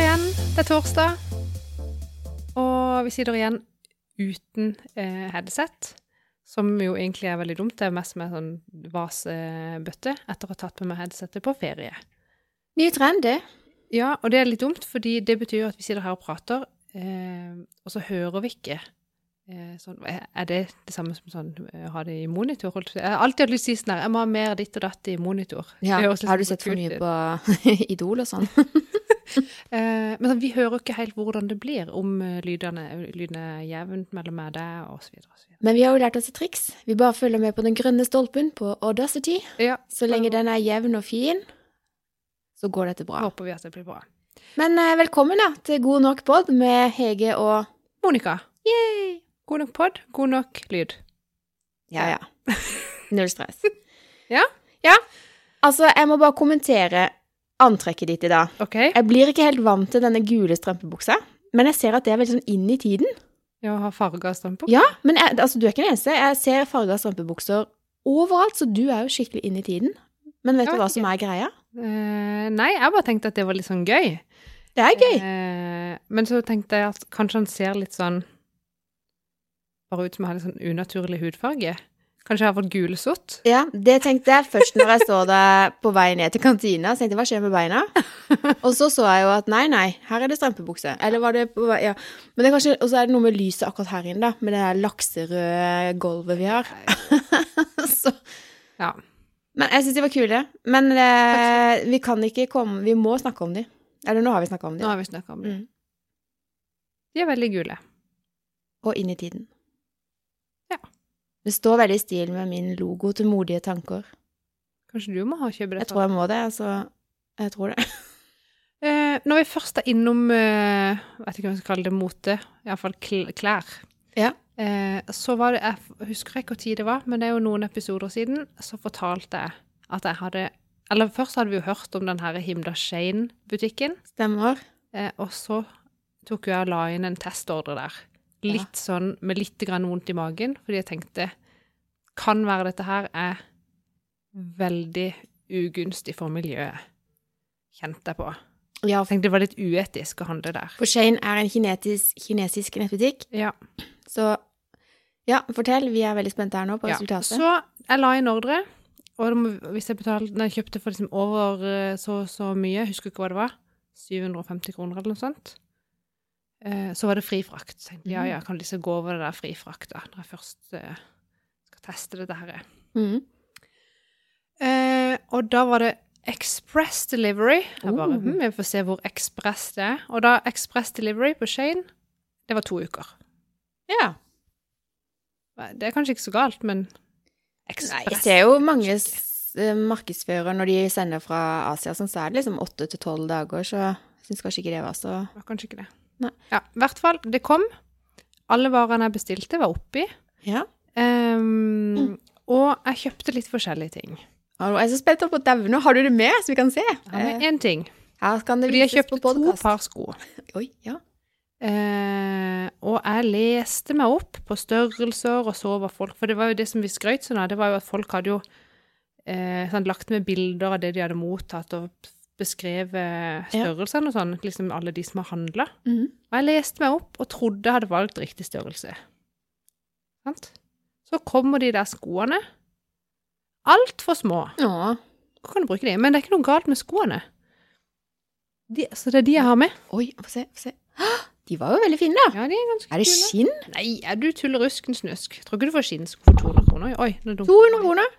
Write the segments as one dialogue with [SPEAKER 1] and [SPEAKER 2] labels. [SPEAKER 1] er torsdag, og vi sitter igjen uten eh, headset. Som jo egentlig er veldig dumt. Det er mest med sånn vasebøtte etter å ha tatt med meg headsetet på ferie.
[SPEAKER 2] Ny trend, det.
[SPEAKER 1] Ja, og det er litt dumt, fordi det betyr jo at vi sitter her og prater, eh, og så hører vi ikke. Eh, sånn, er det det samme som sånn, eh, ha det i monitor? holdt Jeg på å si? Jeg har alltid hatt lyst til å si sånn her, jeg må ha mer ditt og datt i monitor.
[SPEAKER 2] Ja.
[SPEAKER 1] Det høres litt
[SPEAKER 2] Har du
[SPEAKER 1] sånn
[SPEAKER 2] sett for
[SPEAKER 1] kult
[SPEAKER 2] mye
[SPEAKER 1] ut.
[SPEAKER 2] på Idol og sånn?
[SPEAKER 1] Eh, men sånn, vi hører jo ikke helt hvordan det blir, om eh, lydene, lyden er jevnt mellom meg og deg, og så videre. Og så videre.
[SPEAKER 2] Men vi har jo lært oss et triks. Vi bare følger med på den grønne stolpen på Audacity.
[SPEAKER 1] Ja,
[SPEAKER 2] Så lenge den er jevn og fin, så går dette bra.
[SPEAKER 1] håper vi at det blir bra.
[SPEAKER 2] Men eh, velkommen da til God nok pod med Hege og
[SPEAKER 1] Monica,
[SPEAKER 2] Yay!
[SPEAKER 1] god nok pod, god nok lyd.
[SPEAKER 2] Ja, ja. Null stress.
[SPEAKER 1] Ja?
[SPEAKER 2] Ja. Altså, jeg må bare kommentere antrekket ditt i dag.
[SPEAKER 1] Ok?
[SPEAKER 2] Jeg blir ikke helt vant til denne gule strømpebuksa, men jeg ser at det er veldig sånn inn i tiden.
[SPEAKER 1] Jeg har farga strømpe.
[SPEAKER 2] Ja, men jeg, altså, du er ikke den eneste. Jeg ser farga strømpebukser overalt, så du er jo skikkelig inn i tiden. Men vet
[SPEAKER 1] Jeg
[SPEAKER 2] du
[SPEAKER 1] vet
[SPEAKER 2] hva som er greia?
[SPEAKER 1] Eh, nei, jeg bare tenkte at det var litt sånn gøy.
[SPEAKER 2] Det er gøy.
[SPEAKER 1] Eh, men så tenkte jeg at kanskje han ser litt sånn Bare ut som han har litt sånn unaturlig hudfarge. Kanskje jeg har fått gulsott?
[SPEAKER 2] Ja, det tenkte jeg først når jeg så deg på vei ned til kantina. Så tenkte jeg, hva skjer med beina? Og så så jeg jo at nei, nei, her er det strømpebukse. Eller var det på vei, ja. Men det er kanskje, og så er det noe med lyset akkurat her inne, da. Med det der lakserøde gulvet vi har. så,
[SPEAKER 1] Ja.
[SPEAKER 2] men jeg syns de var kule. Men eh, vi kan ikke komme Vi må snakke om de. Eller nå har vi snakka om
[SPEAKER 1] Nå
[SPEAKER 2] de.
[SPEAKER 1] har vi snakka om det.
[SPEAKER 2] Mm.
[SPEAKER 1] De er veldig gule.
[SPEAKER 2] Og inn i tiden.
[SPEAKER 1] Ja.
[SPEAKER 2] Det står veldig i stil med min logo til modige tanker.
[SPEAKER 1] Kanskje du må ha kjøpe det?
[SPEAKER 2] Jeg tror jeg må det, altså. Jeg tror det.
[SPEAKER 1] Eh, når vi først er innom eh, jeg vet ikke hva vi skal kalle det, mote, iallfall klær,
[SPEAKER 2] Ja.
[SPEAKER 1] eh, så var det Jeg f- husker ikke hvor tid det var, men det er jo noen episoder siden, så fortalte jeg at jeg hadde Eller først hadde vi jo hørt om den her Himda Shane-butikken,
[SPEAKER 2] Stemmer.
[SPEAKER 1] eh, og så tok jo jeg og la inn en testordre der.
[SPEAKER 2] Ja.
[SPEAKER 1] Litt sånn med litt grann vondt i magen, fordi jeg tenkte Kan være dette her er veldig ugunstig for miljøet. Kjente jeg på.
[SPEAKER 2] Ja,
[SPEAKER 1] Jeg tenkte det var litt uetisk å handle der.
[SPEAKER 2] For Shane er en kinetisk, kinesisk nettbutikk,
[SPEAKER 1] Ja.
[SPEAKER 2] så ja, fortell. Vi er veldig spente her nå på
[SPEAKER 1] ja.
[SPEAKER 2] resultatet.
[SPEAKER 1] Så jeg la inn ordre, og da må- hvis jeg betalte Nei, jeg kjøpte for liksom over eh, så og så mye, jeg husker ikke hva det var, 750 kroner eller noe sånt, eh, så var det fri frakt. Så tenkte jeg, ja
[SPEAKER 2] Mhm.
[SPEAKER 1] ja, kan disse gå over det der fri frakt, da, når jeg først eh, skal teste dette her.
[SPEAKER 2] Mhm.
[SPEAKER 1] Eh, og da var det Express Delivery. Jeg bare,
[SPEAKER 2] Oh.
[SPEAKER 1] hm, jeg får se hvor Express det er. Og da Express Delivery på Shane, det var to uker.
[SPEAKER 2] Ja.
[SPEAKER 1] Det er kanskje ikke så galt, men
[SPEAKER 2] Nei,
[SPEAKER 1] Ekspress
[SPEAKER 2] jeg ser jo mange s- eh, markedsførere når de sender fra Asia, sånn, så er det liksom åtte til tolv dager, så jeg syns kanskje ikke det var så
[SPEAKER 1] var kanskje ikke det.
[SPEAKER 2] Nei.
[SPEAKER 1] Ja, I hvert fall, det kom. Alle varene jeg bestilte, var oppi.
[SPEAKER 2] Ja. Mm.
[SPEAKER 1] Ehm, og jeg kjøpte litt forskjellige ting.
[SPEAKER 2] Og Jeg er så spent på deg nå. Har du det med, så vi kan se?
[SPEAKER 1] Her med
[SPEAKER 2] Eh,
[SPEAKER 1] én ting.
[SPEAKER 2] Her kan det
[SPEAKER 1] Fordi jeg
[SPEAKER 2] vises på
[SPEAKER 1] kjøpte to
[SPEAKER 2] podcast.
[SPEAKER 1] par sko.
[SPEAKER 2] Oi, ja.
[SPEAKER 1] Eh, og jeg leste meg opp på størrelser og så hva folk For det var jo det som vi skrøt sånn av, det var jo at folk hadde jo eh, sånn, lagt med bilder av det de hadde mottatt, og beskrevet
[SPEAKER 2] Ja.
[SPEAKER 1] størrelsene og sånn. Liksom alle de som har handla.
[SPEAKER 2] Mhm.
[SPEAKER 1] Og jeg leste meg opp og trodde jeg hadde valgt riktig størrelse. Sant? Så kommer de der skoene. Altfor små.
[SPEAKER 2] Å,
[SPEAKER 1] Hvor kan du bruke de? Men det er ikke noe galt med skoene. De, så det er de jeg har med.
[SPEAKER 2] Oi, få se, få se. Hå, De var jo veldig fine, da.
[SPEAKER 1] Ja, de er ganske
[SPEAKER 2] Er det
[SPEAKER 1] kule.
[SPEAKER 2] skinn?
[SPEAKER 1] Nei, er du tullerusken snusk? Tror ikke du får skinnsko for 200 kroner. Oi, nå dunker
[SPEAKER 2] 200 kroner.
[SPEAKER 1] det.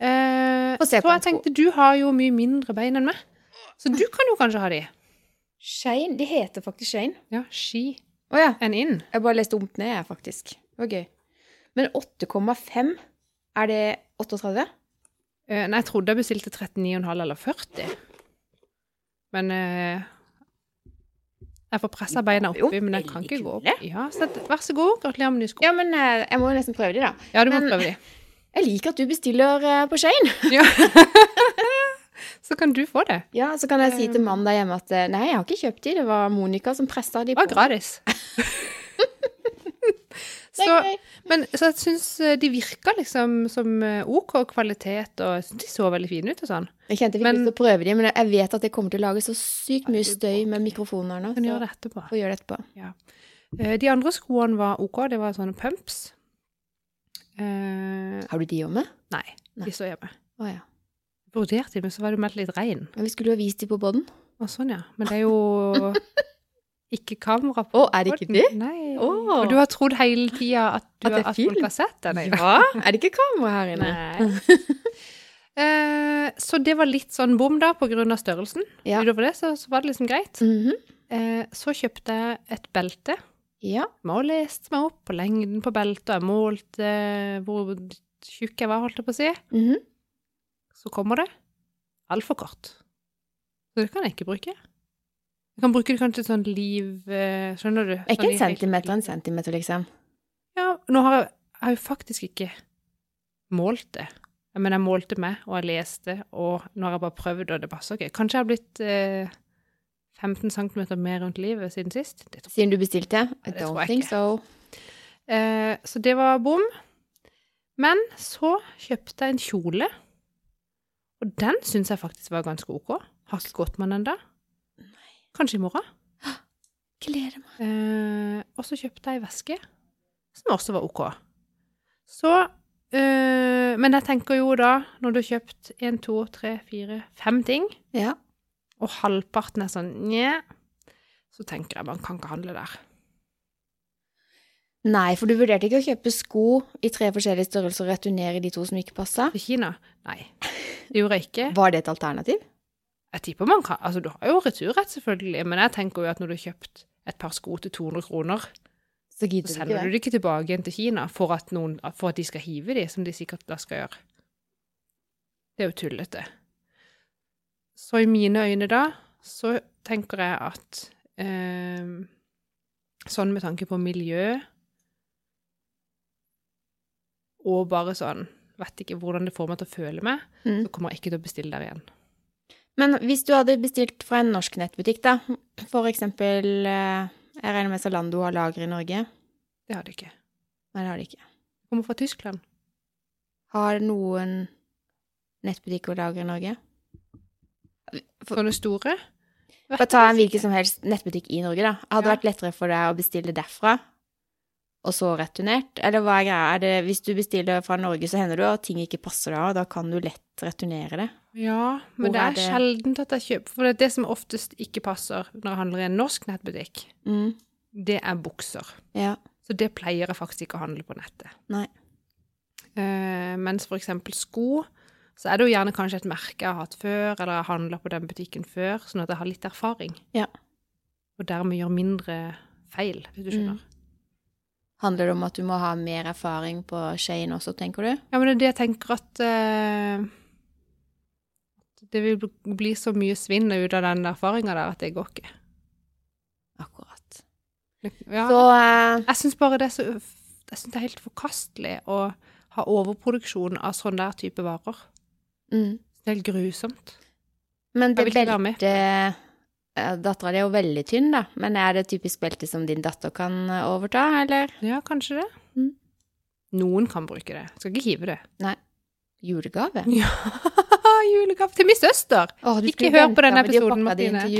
[SPEAKER 1] Eh,
[SPEAKER 2] Få se på
[SPEAKER 1] så
[SPEAKER 2] en
[SPEAKER 1] jeg
[SPEAKER 2] sko.
[SPEAKER 1] tenkte, du har jo mye mindre bein enn meg. Så du kan jo kanskje ha de.
[SPEAKER 2] Shane. De heter faktisk Shane.
[SPEAKER 1] Ja, ski
[SPEAKER 2] Å ja.
[SPEAKER 1] enn inn.
[SPEAKER 2] Jeg bare leste omt ned, jeg, faktisk. Det var gøy. Men 8,5 Er det 38?
[SPEAKER 1] Eh, nei, jeg trodde jeg bestilte 39,5 eller 40. Men eh, jeg får pressa beina
[SPEAKER 2] Jo,
[SPEAKER 1] oppi, men jeg kan
[SPEAKER 2] veldig
[SPEAKER 1] ikke gå opp.
[SPEAKER 2] kule.
[SPEAKER 1] Ja, så at- vær så god, gratulerer med nye sko.
[SPEAKER 2] Ja, men eh, jeg må jo nesten prøve de, da.
[SPEAKER 1] Ja, du må
[SPEAKER 2] men-
[SPEAKER 1] prøve de.
[SPEAKER 2] Jeg liker at du bestiller eh, på Shane.
[SPEAKER 1] Ja. så kan du få det.
[SPEAKER 2] Ja, så kan jeg si
[SPEAKER 1] Eh.
[SPEAKER 2] til mannen der hjemme at eh, nei, jeg har ikke kjøpt de, det var Monica som pressa de
[SPEAKER 1] Det var
[SPEAKER 2] på.
[SPEAKER 1] gratis.
[SPEAKER 2] Så
[SPEAKER 1] så, men, så jeg syns eh, de virka liksom som eh, OK kvalitet, og jeg syns de så veldig fine ut og sånn.
[SPEAKER 2] Jeg kjente jeg fikk
[SPEAKER 1] Men-
[SPEAKER 2] lyst til å prøve de, men jeg vet at det kommer til å lage så sykt mye støy med mikrofonen her nå.
[SPEAKER 1] Kan
[SPEAKER 2] så
[SPEAKER 1] gjøre det etterpå.
[SPEAKER 2] Får gjøre det etterpå.
[SPEAKER 1] Eh, De andre skoene var OK, det var sånne pumps. Eh,
[SPEAKER 2] Har du de òg med?
[SPEAKER 1] nei,
[SPEAKER 2] Nei.
[SPEAKER 1] de står hjemme.
[SPEAKER 2] Å ja.
[SPEAKER 1] Vurderte de, men så var det meldt litt regn.
[SPEAKER 2] Men vi skulle jo ha vist de på båten.
[SPEAKER 1] Å, sånn, ja. Men det er jo ikke kamera på
[SPEAKER 2] Å, er det ikke
[SPEAKER 1] båten.
[SPEAKER 2] det?
[SPEAKER 1] Nei.
[SPEAKER 2] Å.
[SPEAKER 1] Og du har trodd hele tida at, du
[SPEAKER 2] At det er
[SPEAKER 1] har- at folk
[SPEAKER 2] film?
[SPEAKER 1] har sett den? jeg.
[SPEAKER 2] Er det ikke kamera her inne?
[SPEAKER 1] Nei. Eh, så det var litt sånn bom, da, på grunn av størrelsen.
[SPEAKER 2] Ja.
[SPEAKER 1] Utover det så, så var det liksom greit.
[SPEAKER 2] Mhm.
[SPEAKER 1] Eh, så kjøpte jeg et belte.
[SPEAKER 2] Ja.
[SPEAKER 1] Må ha lest meg opp på lengden på beltet, og jeg målte eh, hvor tjukk jeg var, holdt jeg på å si.
[SPEAKER 2] Mhm.
[SPEAKER 1] Så kommer det altfor kort. Så det kan jeg ikke bruke. Jeg kan bruke det kanskje sånn liv eh, Skjønner du?
[SPEAKER 2] Er ikke
[SPEAKER 1] Sånn i-
[SPEAKER 2] en centimeter en centimeter, liksom?
[SPEAKER 1] Ja, nå har jeg, jeg har jo faktisk ikke målt det. Jeg mener, jeg målte meg, og jeg leste, og nå har jeg bare prøvd, og det passer ikke. Kanskje jeg har blitt eh, 15 cm mer rundt livet siden sist. Det tror jeg.
[SPEAKER 2] Siden du bestilte? I
[SPEAKER 1] det tror
[SPEAKER 2] don't
[SPEAKER 1] jeg
[SPEAKER 2] think
[SPEAKER 1] ikke.
[SPEAKER 2] so.
[SPEAKER 1] Eh, så det var bom. Men så kjøpte jeg en kjole, og den syns jeg faktisk var ganske ok. Har ikke gått med den ennå. Kanskje i morgen.
[SPEAKER 2] Gleder meg.
[SPEAKER 1] Eh, og så kjøpte jeg ei veske, som også var OK. Så eh, Men jeg tenker jo da, når du har kjøpt én, to, tre, fire, fem ting,
[SPEAKER 2] Ja.
[SPEAKER 1] og halvparten er sånn nje, så tenker jeg man kan ikke handle der.
[SPEAKER 2] Nei, for du vurderte ikke å kjøpe sko i tre forskjellige størrelser og returnere de to som ikke passa?
[SPEAKER 1] Til Kina? Nei. Det gjorde jeg ikke.
[SPEAKER 2] Var det et alternativ?
[SPEAKER 1] Jeg tipper man kan Altså, du har jo returrett, selvfølgelig, men jeg tenker jo at når du har kjøpt et par sko til 200 kroner,
[SPEAKER 2] Så
[SPEAKER 1] så
[SPEAKER 2] gidder du
[SPEAKER 1] sender
[SPEAKER 2] ikke
[SPEAKER 1] du
[SPEAKER 2] det.
[SPEAKER 1] det ikke tilbake igjen til Kina for at, noen, for at de skal hive de, som de sikkert da skal gjøre. Det er jo tullete. Så i mine øyne da, så tenker jeg at eh, sånn med tanke på miljø og bare sånn Vet ikke hvordan det får meg til å føle meg,
[SPEAKER 2] Mm.
[SPEAKER 1] så kommer jeg ikke til å bestille der igjen.
[SPEAKER 2] Men hvis du hadde bestilt fra en norsk nettbutikk, da, for eksempel eh, Jeg regner med Zalando har lager i Norge?
[SPEAKER 1] Det har de ikke.
[SPEAKER 2] Nei, det har de ikke.
[SPEAKER 1] Jeg kommer fra Tyskland.
[SPEAKER 2] Har noen nettbutikker lager i Norge?
[SPEAKER 1] Sånne store. Vet
[SPEAKER 2] Bare ta
[SPEAKER 1] jeg
[SPEAKER 2] en
[SPEAKER 1] ikke.
[SPEAKER 2] hvilken som helst nettbutikk i Norge, da. Hadde det
[SPEAKER 1] Ja.
[SPEAKER 2] vært lettere for deg å bestille derfra, og så returnert? Eller hva er greia? Er det, hvis du bestiller fra Norge, så hender det jo at ting ikke passer deg, og da kan du lett returnere det.
[SPEAKER 1] Ja, men
[SPEAKER 2] Hvor
[SPEAKER 1] det
[SPEAKER 2] er
[SPEAKER 1] er
[SPEAKER 2] det?
[SPEAKER 1] sjeldent at jeg kjøper. For det, er det som oftest ikke passer når jeg handler i en norsk nettbutikk,
[SPEAKER 2] Mm.
[SPEAKER 1] det er bukser.
[SPEAKER 2] Ja.
[SPEAKER 1] Så det pleier jeg faktisk ikke å handle på nettet.
[SPEAKER 2] Nei.
[SPEAKER 1] Eh, mens for eksempel sko, så er det jo gjerne kanskje et merke jeg har hatt før, eller jeg har handla på den butikken før, sånn at jeg har litt erfaring.
[SPEAKER 2] Ja.
[SPEAKER 1] Og dermed gjør mindre feil, hvis du skjønner.
[SPEAKER 2] Handler det om at du må ha mer erfaring på Shein også, tenker du?
[SPEAKER 1] Ja, men det er det jeg tenker at eh, Det vil bl- bli så mye svinn ut av den erfaringa der at det går ikke.
[SPEAKER 2] Akkurat.
[SPEAKER 1] Ja.
[SPEAKER 2] Så eh,
[SPEAKER 1] Jeg syns bare det er så Jeg synes det er helt forkastelig å ha overproduksjon av sånn der type varer.
[SPEAKER 2] mm.
[SPEAKER 1] Det er helt grusomt.
[SPEAKER 2] Men det
[SPEAKER 1] vil ikke være med.
[SPEAKER 2] beltet eh, Dattera di er jo veldig tynn, da, men er det typisk belte som din datter kan eh, overta, eller?
[SPEAKER 1] Ja, kanskje det.
[SPEAKER 2] Mm.
[SPEAKER 1] Noen kan bruke det. Jeg skal ikke hive det.
[SPEAKER 2] Julegave?
[SPEAKER 1] Ja, julegave til min søster!
[SPEAKER 2] Åh, du
[SPEAKER 1] Ikke
[SPEAKER 2] skulle
[SPEAKER 1] hør på
[SPEAKER 2] vente
[SPEAKER 1] denne
[SPEAKER 2] med de og
[SPEAKER 1] episoden,
[SPEAKER 2] pakka de inn
[SPEAKER 1] Martine.
[SPEAKER 2] til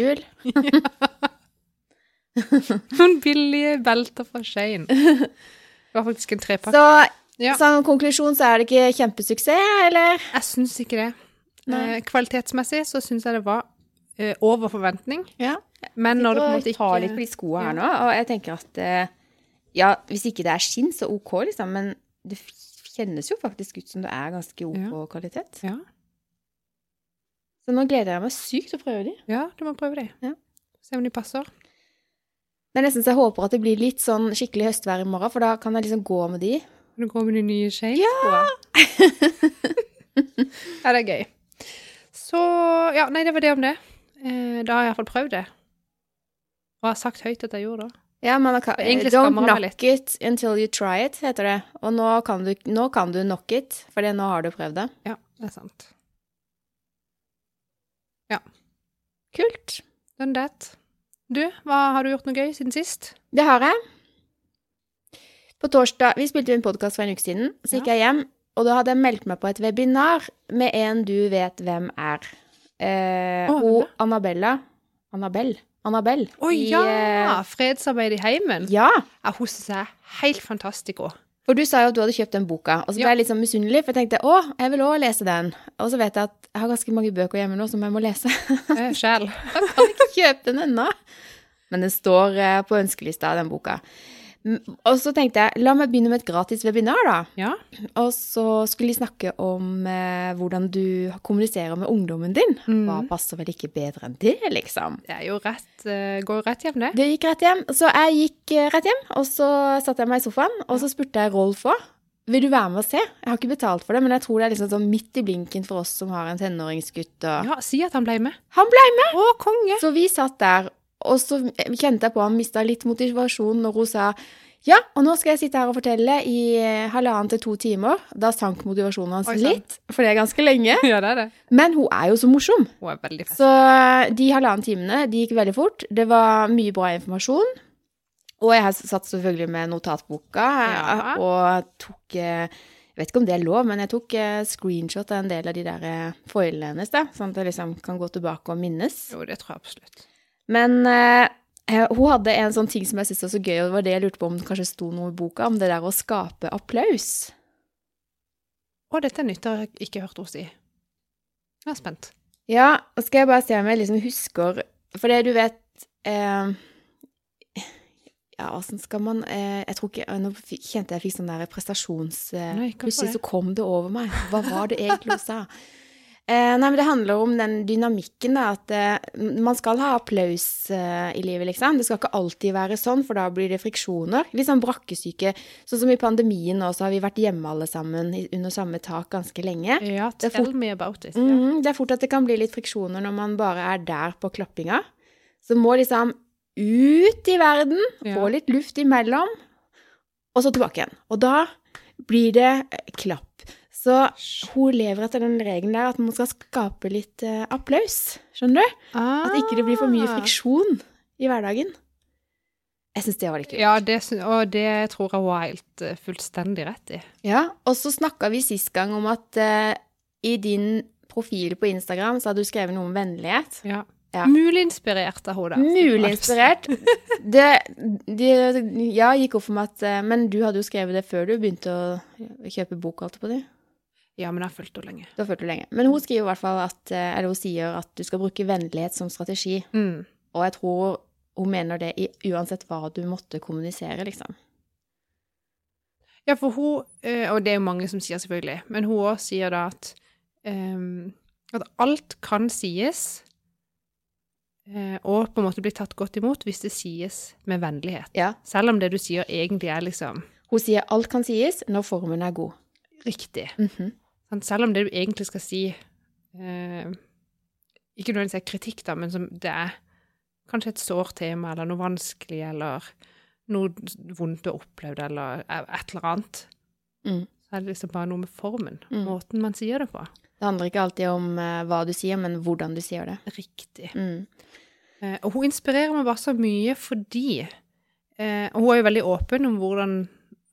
[SPEAKER 2] jul.
[SPEAKER 1] Noen billige belter fra Shein. Det var faktisk en trepakke.
[SPEAKER 2] Så
[SPEAKER 1] Ja.
[SPEAKER 2] som konklusjon så er det ikke kjempesuksess, eller?
[SPEAKER 1] Jeg syns ikke det.
[SPEAKER 2] Nei.
[SPEAKER 1] Eh, Kvalitetsmessig så syns jeg det var eh, over forventning,
[SPEAKER 2] Ja.
[SPEAKER 1] men når det på en
[SPEAKER 2] Og
[SPEAKER 1] måte ikke
[SPEAKER 2] ta litt på de skoene her nå, og jeg tenker at eh, ja, hvis ikke det er skinn, så ok, liksom, men det f- kjennes jo faktisk ut som det er ganske ok
[SPEAKER 1] Ja.
[SPEAKER 2] kvalitet.
[SPEAKER 1] Ja.
[SPEAKER 2] Så nå gleder jeg meg sykt til å prøve de.
[SPEAKER 1] ja, du må prøve det.
[SPEAKER 2] Ja.
[SPEAKER 1] Se om de passer.
[SPEAKER 2] Men jeg synes jeg håper at det blir litt sånn skikkelig høstvær i morgen, for da kan jeg liksom gå med de.
[SPEAKER 1] Kan du gå med de nye Shane-skoene? Ja! det er gøy. Så Ja, nei, det var det om det. Eh, da har jeg iallfall prøvd det. Og har sagt høyt at jeg gjorde det.
[SPEAKER 2] Ja, men da kan,
[SPEAKER 1] Og egentlig
[SPEAKER 2] don't
[SPEAKER 1] skammer jeg meg
[SPEAKER 2] knock it until you try it, heter det. Og nå kan du, nå kan du knock it, for nå har du prøvd det.
[SPEAKER 1] Ja, det er sant.
[SPEAKER 2] Kult.
[SPEAKER 1] Done that. Du, hva har du gjort noe gøy siden sist?
[SPEAKER 2] Det har jeg. På torsdag Vi spilte jo en podkast for en uke siden, så gikk jeg hjem. Og da hadde jeg meldt meg på et webinar med en du vet hvem er. Eh,
[SPEAKER 1] Å, hvem
[SPEAKER 2] hun
[SPEAKER 1] da?
[SPEAKER 2] Annabella Annabelle. Annabelle.
[SPEAKER 1] Å
[SPEAKER 2] i,
[SPEAKER 1] ja! Fredsarbeid i heimen.
[SPEAKER 2] eh, ja!
[SPEAKER 1] Ja, hun syns jeg er helt fantastisk òg.
[SPEAKER 2] For du sa jo at du hadde kjøpt den boka, og så ble
[SPEAKER 1] Ja.
[SPEAKER 2] jeg litt sånn misunnelig, for jeg tenkte å, jeg vil òg lese den. Og så vet jeg at jeg har ganske mange bøker hjemme nå som jeg må lese.
[SPEAKER 1] Eh, Sjæl.
[SPEAKER 2] Jeg kan ikke kjøpe den ennå. Men den står eh, på ønskelista, den boka. Mm, Og så tenkte jeg, la meg begynne med et gratis webinar, da.
[SPEAKER 1] Ja.
[SPEAKER 2] Og så skulle de snakke om eh, hvordan du kommuniserer med ungdommen din.
[SPEAKER 1] Mm.
[SPEAKER 2] Hva passer vel ikke bedre enn det, liksom?
[SPEAKER 1] Det er jo rett eh, Går jo rett hjem, det.
[SPEAKER 2] Det gikk rett hjem. Så jeg gikk eh, rett hjem, og så satte jeg meg i sofaen, og så spurte jeg Rolf òg. Vil du være med og se? Jeg har ikke betalt for det, men jeg tror det er liksom sånn midt i blinken for oss som har en tenåringsgutt. Og...
[SPEAKER 1] Ja, Si at han ble med.
[SPEAKER 2] Han ble med!
[SPEAKER 1] Å, konge!
[SPEAKER 2] Så vi satt der, og så eh, kjente jeg på han mista litt motivasjon når hun sa ja, og nå skal jeg sitte her og fortelle i eh, halvannen til to timer. Da sank motivasjonen hans
[SPEAKER 1] Oi, sant.
[SPEAKER 2] litt, for det er ganske lenge.
[SPEAKER 1] Ja, det er det.
[SPEAKER 2] Men hun er jo så morsom.
[SPEAKER 1] Hun er veldig fest.
[SPEAKER 2] Så eh, de halvannen timene de gikk veldig fort. Det var mye bra informasjon. Og jeg satt selvfølgelig med notatboka eh,
[SPEAKER 1] Ja.
[SPEAKER 2] og tok eh, Jeg vet ikke om det er lov, men jeg tok eh, screenshot av en del av de der eh, foilene hennes, da, sånn at jeg liksom kan gå tilbake og minnes.
[SPEAKER 1] Jo, det tror jeg absolutt.
[SPEAKER 2] Men eh, eh, hun hadde en sånn ting som jeg syntes var så gøy, og det var det jeg lurte på om det kanskje sto noe i boka, om det der å skape applaus.
[SPEAKER 1] Å, dette er nytt, det har jeg ikke hørt henne si. Jeg er spent.
[SPEAKER 2] Ja, og skal jeg bare se om jeg liksom husker For det du vet eh, Ja, åssen skal man eh, Jeg tror ikke Nå fikk- kjente jeg jeg fikk sånn der prestasjons... Eh,
[SPEAKER 1] Nei, hva
[SPEAKER 2] plutselig
[SPEAKER 1] var
[SPEAKER 2] så kom det over meg. Hva var det egentlig hun sa? Eh, nei, men Det handler om den dynamikken, da, at eh, man skal ha applaus eh, i livet, liksom. Det skal ikke alltid være sånn, for da blir det friksjoner. Litt sånn brakkesyke. Sånn som i pandemien nå, så har vi vært hjemme alle sammen i- under samme tak ganske lenge.
[SPEAKER 1] Ja,
[SPEAKER 2] er
[SPEAKER 1] tell me about it. Ja.
[SPEAKER 2] Mhm, det er fort at det kan bli litt friksjoner når man bare er der på klappinga. Så må liksom ut i verden,
[SPEAKER 1] Ja.
[SPEAKER 2] få litt luft imellom, og så tilbake igjen. Og da blir det eh, klapp. Så hun lever etter den regelen der at man skal skape litt eh, applaus. Skjønner du? At ikke det blir for mye
[SPEAKER 1] Ah.
[SPEAKER 2] friksjon i hverdagen. Jeg syns det var litt kult.
[SPEAKER 1] Ja, det, syn- og det tror jeg hun har helt eh, fullstendig rett i.
[SPEAKER 2] Ja, og så snakka vi sist gang om at eh, i din profil på Instagram så hadde du skrevet noe om vennlighet.
[SPEAKER 1] Ja.
[SPEAKER 2] Ja.
[SPEAKER 1] Mulig inspirert av henne. da.
[SPEAKER 2] Mulig inspirert. Det, det ja, gikk opp for meg at eh, Men du hadde jo skrevet det før du begynte å kjøpe bok, holdt jeg på å si.
[SPEAKER 1] Ja, men jeg har fulgt henne lenge.
[SPEAKER 2] Du har følt det lenge. Men hun skriver i hvert fall at eh, Eller hun sier at du skal bruke vennlighet som strategi.
[SPEAKER 1] Mm.
[SPEAKER 2] Og jeg tror hun mener det i, uansett hva du måtte kommunisere, liksom.
[SPEAKER 1] Ja, for hun, eh, og det er jo mange som sier selvfølgelig, men hun òg sier da at, ehm, at alt kan sies eh, og på en måte bli tatt godt imot hvis det sies med vennlighet.
[SPEAKER 2] Ja.
[SPEAKER 1] Selv om det du sier egentlig er liksom
[SPEAKER 2] Hun sier alt kan sies når formen er god.
[SPEAKER 1] riktig.
[SPEAKER 2] Mhm.
[SPEAKER 1] Sant? Selv om det du egentlig skal si eh, Ikke nødvendigvis er kritikk, da, men som det er kanskje et sårt tema, eller noe vanskelig, eller noe vondt du har opplevd, eller et eller annet.
[SPEAKER 2] Mm.
[SPEAKER 1] Så er det liksom bare noe med formen,
[SPEAKER 2] Mm.
[SPEAKER 1] måten man sier det på.
[SPEAKER 2] Det handler ikke alltid om eh, hva du sier, men hvordan du sier det.
[SPEAKER 1] Riktig.
[SPEAKER 2] Mm.
[SPEAKER 1] Eh, og hun inspirerer meg bare så mye fordi eh, og Hun er jo veldig åpen om hvordan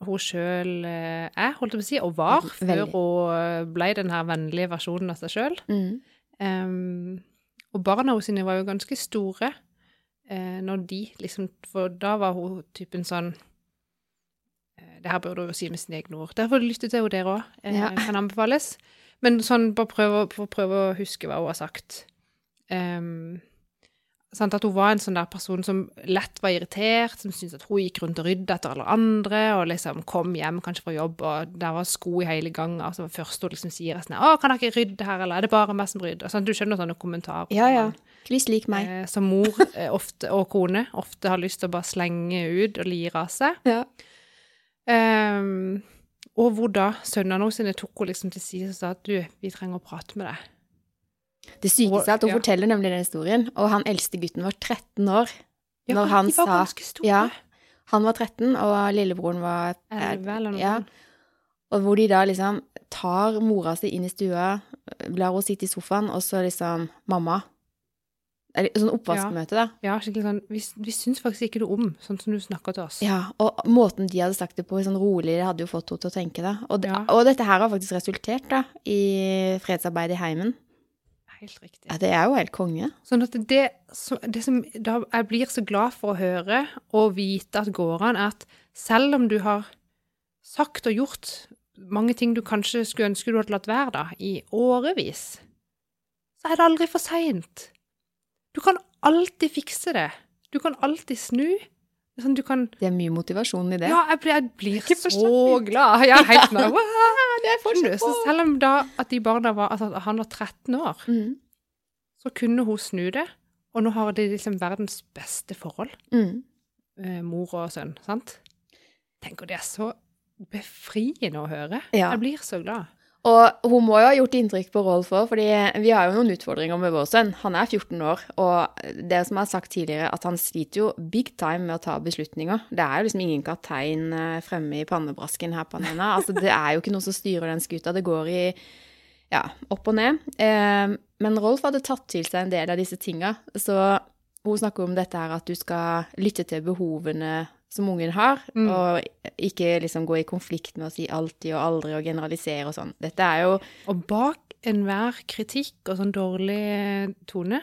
[SPEAKER 1] hun sjøl eh, er, holdt jeg på å si, og var, før
[SPEAKER 2] Veldig.
[SPEAKER 1] hun eh, ble den her vennlige versjonen av seg sjøl.
[SPEAKER 2] Mm.
[SPEAKER 1] Ehm, og barna hos sine var jo ganske store eh, når de liksom For da var hun typen sånn eh, Det her burde hun jo si med sine egne ord. Derfor lytte til henne dere òg. Eh,
[SPEAKER 2] Ja.
[SPEAKER 1] Kan anbefales. Men sånn, bare prøve, å- for å prøve å huske hva hun har sagt. Ehm, sant, at hun var en sånn der person som lett var irritert, som syntes at hun gikk rundt og rydda etter alle andre, og liksom kom hjem kanskje fra jobb, og der var sko i hele gangen, og så var det første hun liksom sier sånn, å, kan dere ikke rydde her, eller er det bare meg som rydder? Og Sånn, du skjønner sånne kommentarer.
[SPEAKER 2] Ja, ja. Kliss lik meg.
[SPEAKER 1] Eh, Som mor eh, ofte, og kone ofte har lyst til å bare slenge ut og lire av seg.
[SPEAKER 2] Ja.
[SPEAKER 1] Ehm, og hvor da sønnene hennes sine tok hun liksom til side og sa at du, vi trenger å prate med deg.
[SPEAKER 2] Det sykeste er at hun
[SPEAKER 1] Ja.
[SPEAKER 2] forteller nemlig den historien. Og han eldste gutten var 13 år.
[SPEAKER 1] Ja,
[SPEAKER 2] Når
[SPEAKER 1] for
[SPEAKER 2] han
[SPEAKER 1] de var
[SPEAKER 2] sa-
[SPEAKER 1] ganske store.
[SPEAKER 2] Ja. Han var 13, og lillebroren var eh,
[SPEAKER 1] Elleve eller noe
[SPEAKER 2] ja.
[SPEAKER 1] sånt.
[SPEAKER 2] Og hvor de da liksom tar mora si inn i stua, lar henne sitte i sofaen, og så liksom Mamma, Eller sånn oppvaskmøte, da.
[SPEAKER 1] Ja, skikkelig sånn Vi, vi syns faktisk ikke noe om sånn som du snakker til oss.
[SPEAKER 2] Ja, og måten de hadde sagt det på, sånn rolig, det hadde jo fått henne til å tenke, da. Og, det,
[SPEAKER 1] Ja.
[SPEAKER 2] og dette her har faktisk resultert, da, i fredsarbeid i heimen.
[SPEAKER 1] Helt riktig.
[SPEAKER 2] Ja, det er jo helt konge.
[SPEAKER 1] Sånn at det, som- det som da jeg blir så glad for å høre og vite at går an, er at selv om du har sagt og gjort mange ting du kanskje skulle ønske du hadde latt være da, i årevis, så er det aldri for seint. Du kan alltid fikse det. Du kan alltid snu. Det er Sånn, du kan
[SPEAKER 2] Det er mye motivasjon i det.
[SPEAKER 1] Ja, jeg blir, jeg blir
[SPEAKER 2] Ikke
[SPEAKER 1] så
[SPEAKER 2] forstått.
[SPEAKER 1] glad. Ja, helt nå. Wow.
[SPEAKER 2] det er
[SPEAKER 1] Skjønner du? Så selv om da at de barna var, altså, at han var 13 år,
[SPEAKER 2] Mm,
[SPEAKER 1] så kunne hun snu det. Og nå har de liksom verdens beste forhold,
[SPEAKER 2] mm.
[SPEAKER 1] eh, mor og sønn. sant? Tenk, og det er så befriende å høre.
[SPEAKER 2] Ja.
[SPEAKER 1] Jeg blir så glad.
[SPEAKER 2] Og hun må jo ha gjort inntrykk på Rolf òg, fordi vi har jo noen utfordringer med vår sønn. Han er 14 år, og det som jeg har sagt tidligere, at han sliter jo big time med å ta beslutninger. Det er jo liksom ingen kaptein eh, fremme i pannebrasken her på henne. Altså, det er jo ikke noe som styrer den skuta. Det går i ja, opp og ned. Eh, men Rolf hadde tatt til seg en del av disse tinga, så hun snakker om dette her at du skal lytte til behovene som ungen har,
[SPEAKER 1] Mm.
[SPEAKER 2] og ikke liksom gå i konflikt med å si alltid og aldri og generalisere og sånn. Dette er jo
[SPEAKER 1] Og bak enhver kritikk og sånn dårlig tone,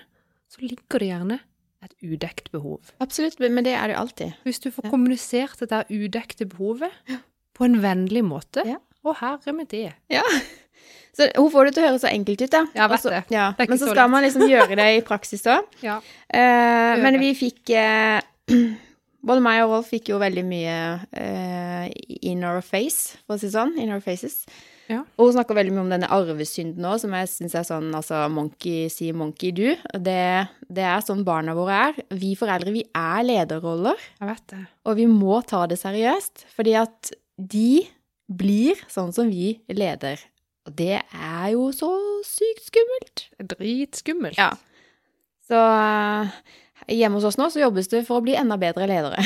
[SPEAKER 1] så ligger det gjerne et udekt behov.
[SPEAKER 2] Absolutt, men det er det jo alltid.
[SPEAKER 1] Hvis du får
[SPEAKER 2] Ja.
[SPEAKER 1] kommunisert dette udekte behovet på en vennlig måte,
[SPEAKER 2] Ja.
[SPEAKER 1] og herre med det.
[SPEAKER 2] Ja. Så hun får det til å høres så enkelt ut, da.
[SPEAKER 1] Ja, vet
[SPEAKER 2] Og så-
[SPEAKER 1] det.
[SPEAKER 2] Ja.
[SPEAKER 1] Det er ikke
[SPEAKER 2] men så
[SPEAKER 1] så
[SPEAKER 2] skal
[SPEAKER 1] lett.
[SPEAKER 2] man liksom gjøre det i praksis òg.
[SPEAKER 1] Ja.
[SPEAKER 2] Eh,
[SPEAKER 1] Det gjør
[SPEAKER 2] men
[SPEAKER 1] det.
[SPEAKER 2] vi fikk eh, Både meg og Rolf fikk jo veldig mye eh, in our face, for å si det sånn. In our faces.
[SPEAKER 1] Ja.
[SPEAKER 2] Og hun snakker veldig mye om denne arvesynden òg, som jeg syns er sånn altså monkey see, monkey do. Det, det er sånn barna våre er. Vi foreldre, vi er lederroller,
[SPEAKER 1] Jeg vet det.
[SPEAKER 2] og vi må ta det seriøst. Fordi at de blir sånn som vi leder. Og det er jo så sykt skummelt.
[SPEAKER 1] Det er Dritskummelt.
[SPEAKER 2] Ja. Så eh, hjemme hos oss nå så jobbes det for å bli enda bedre ledere.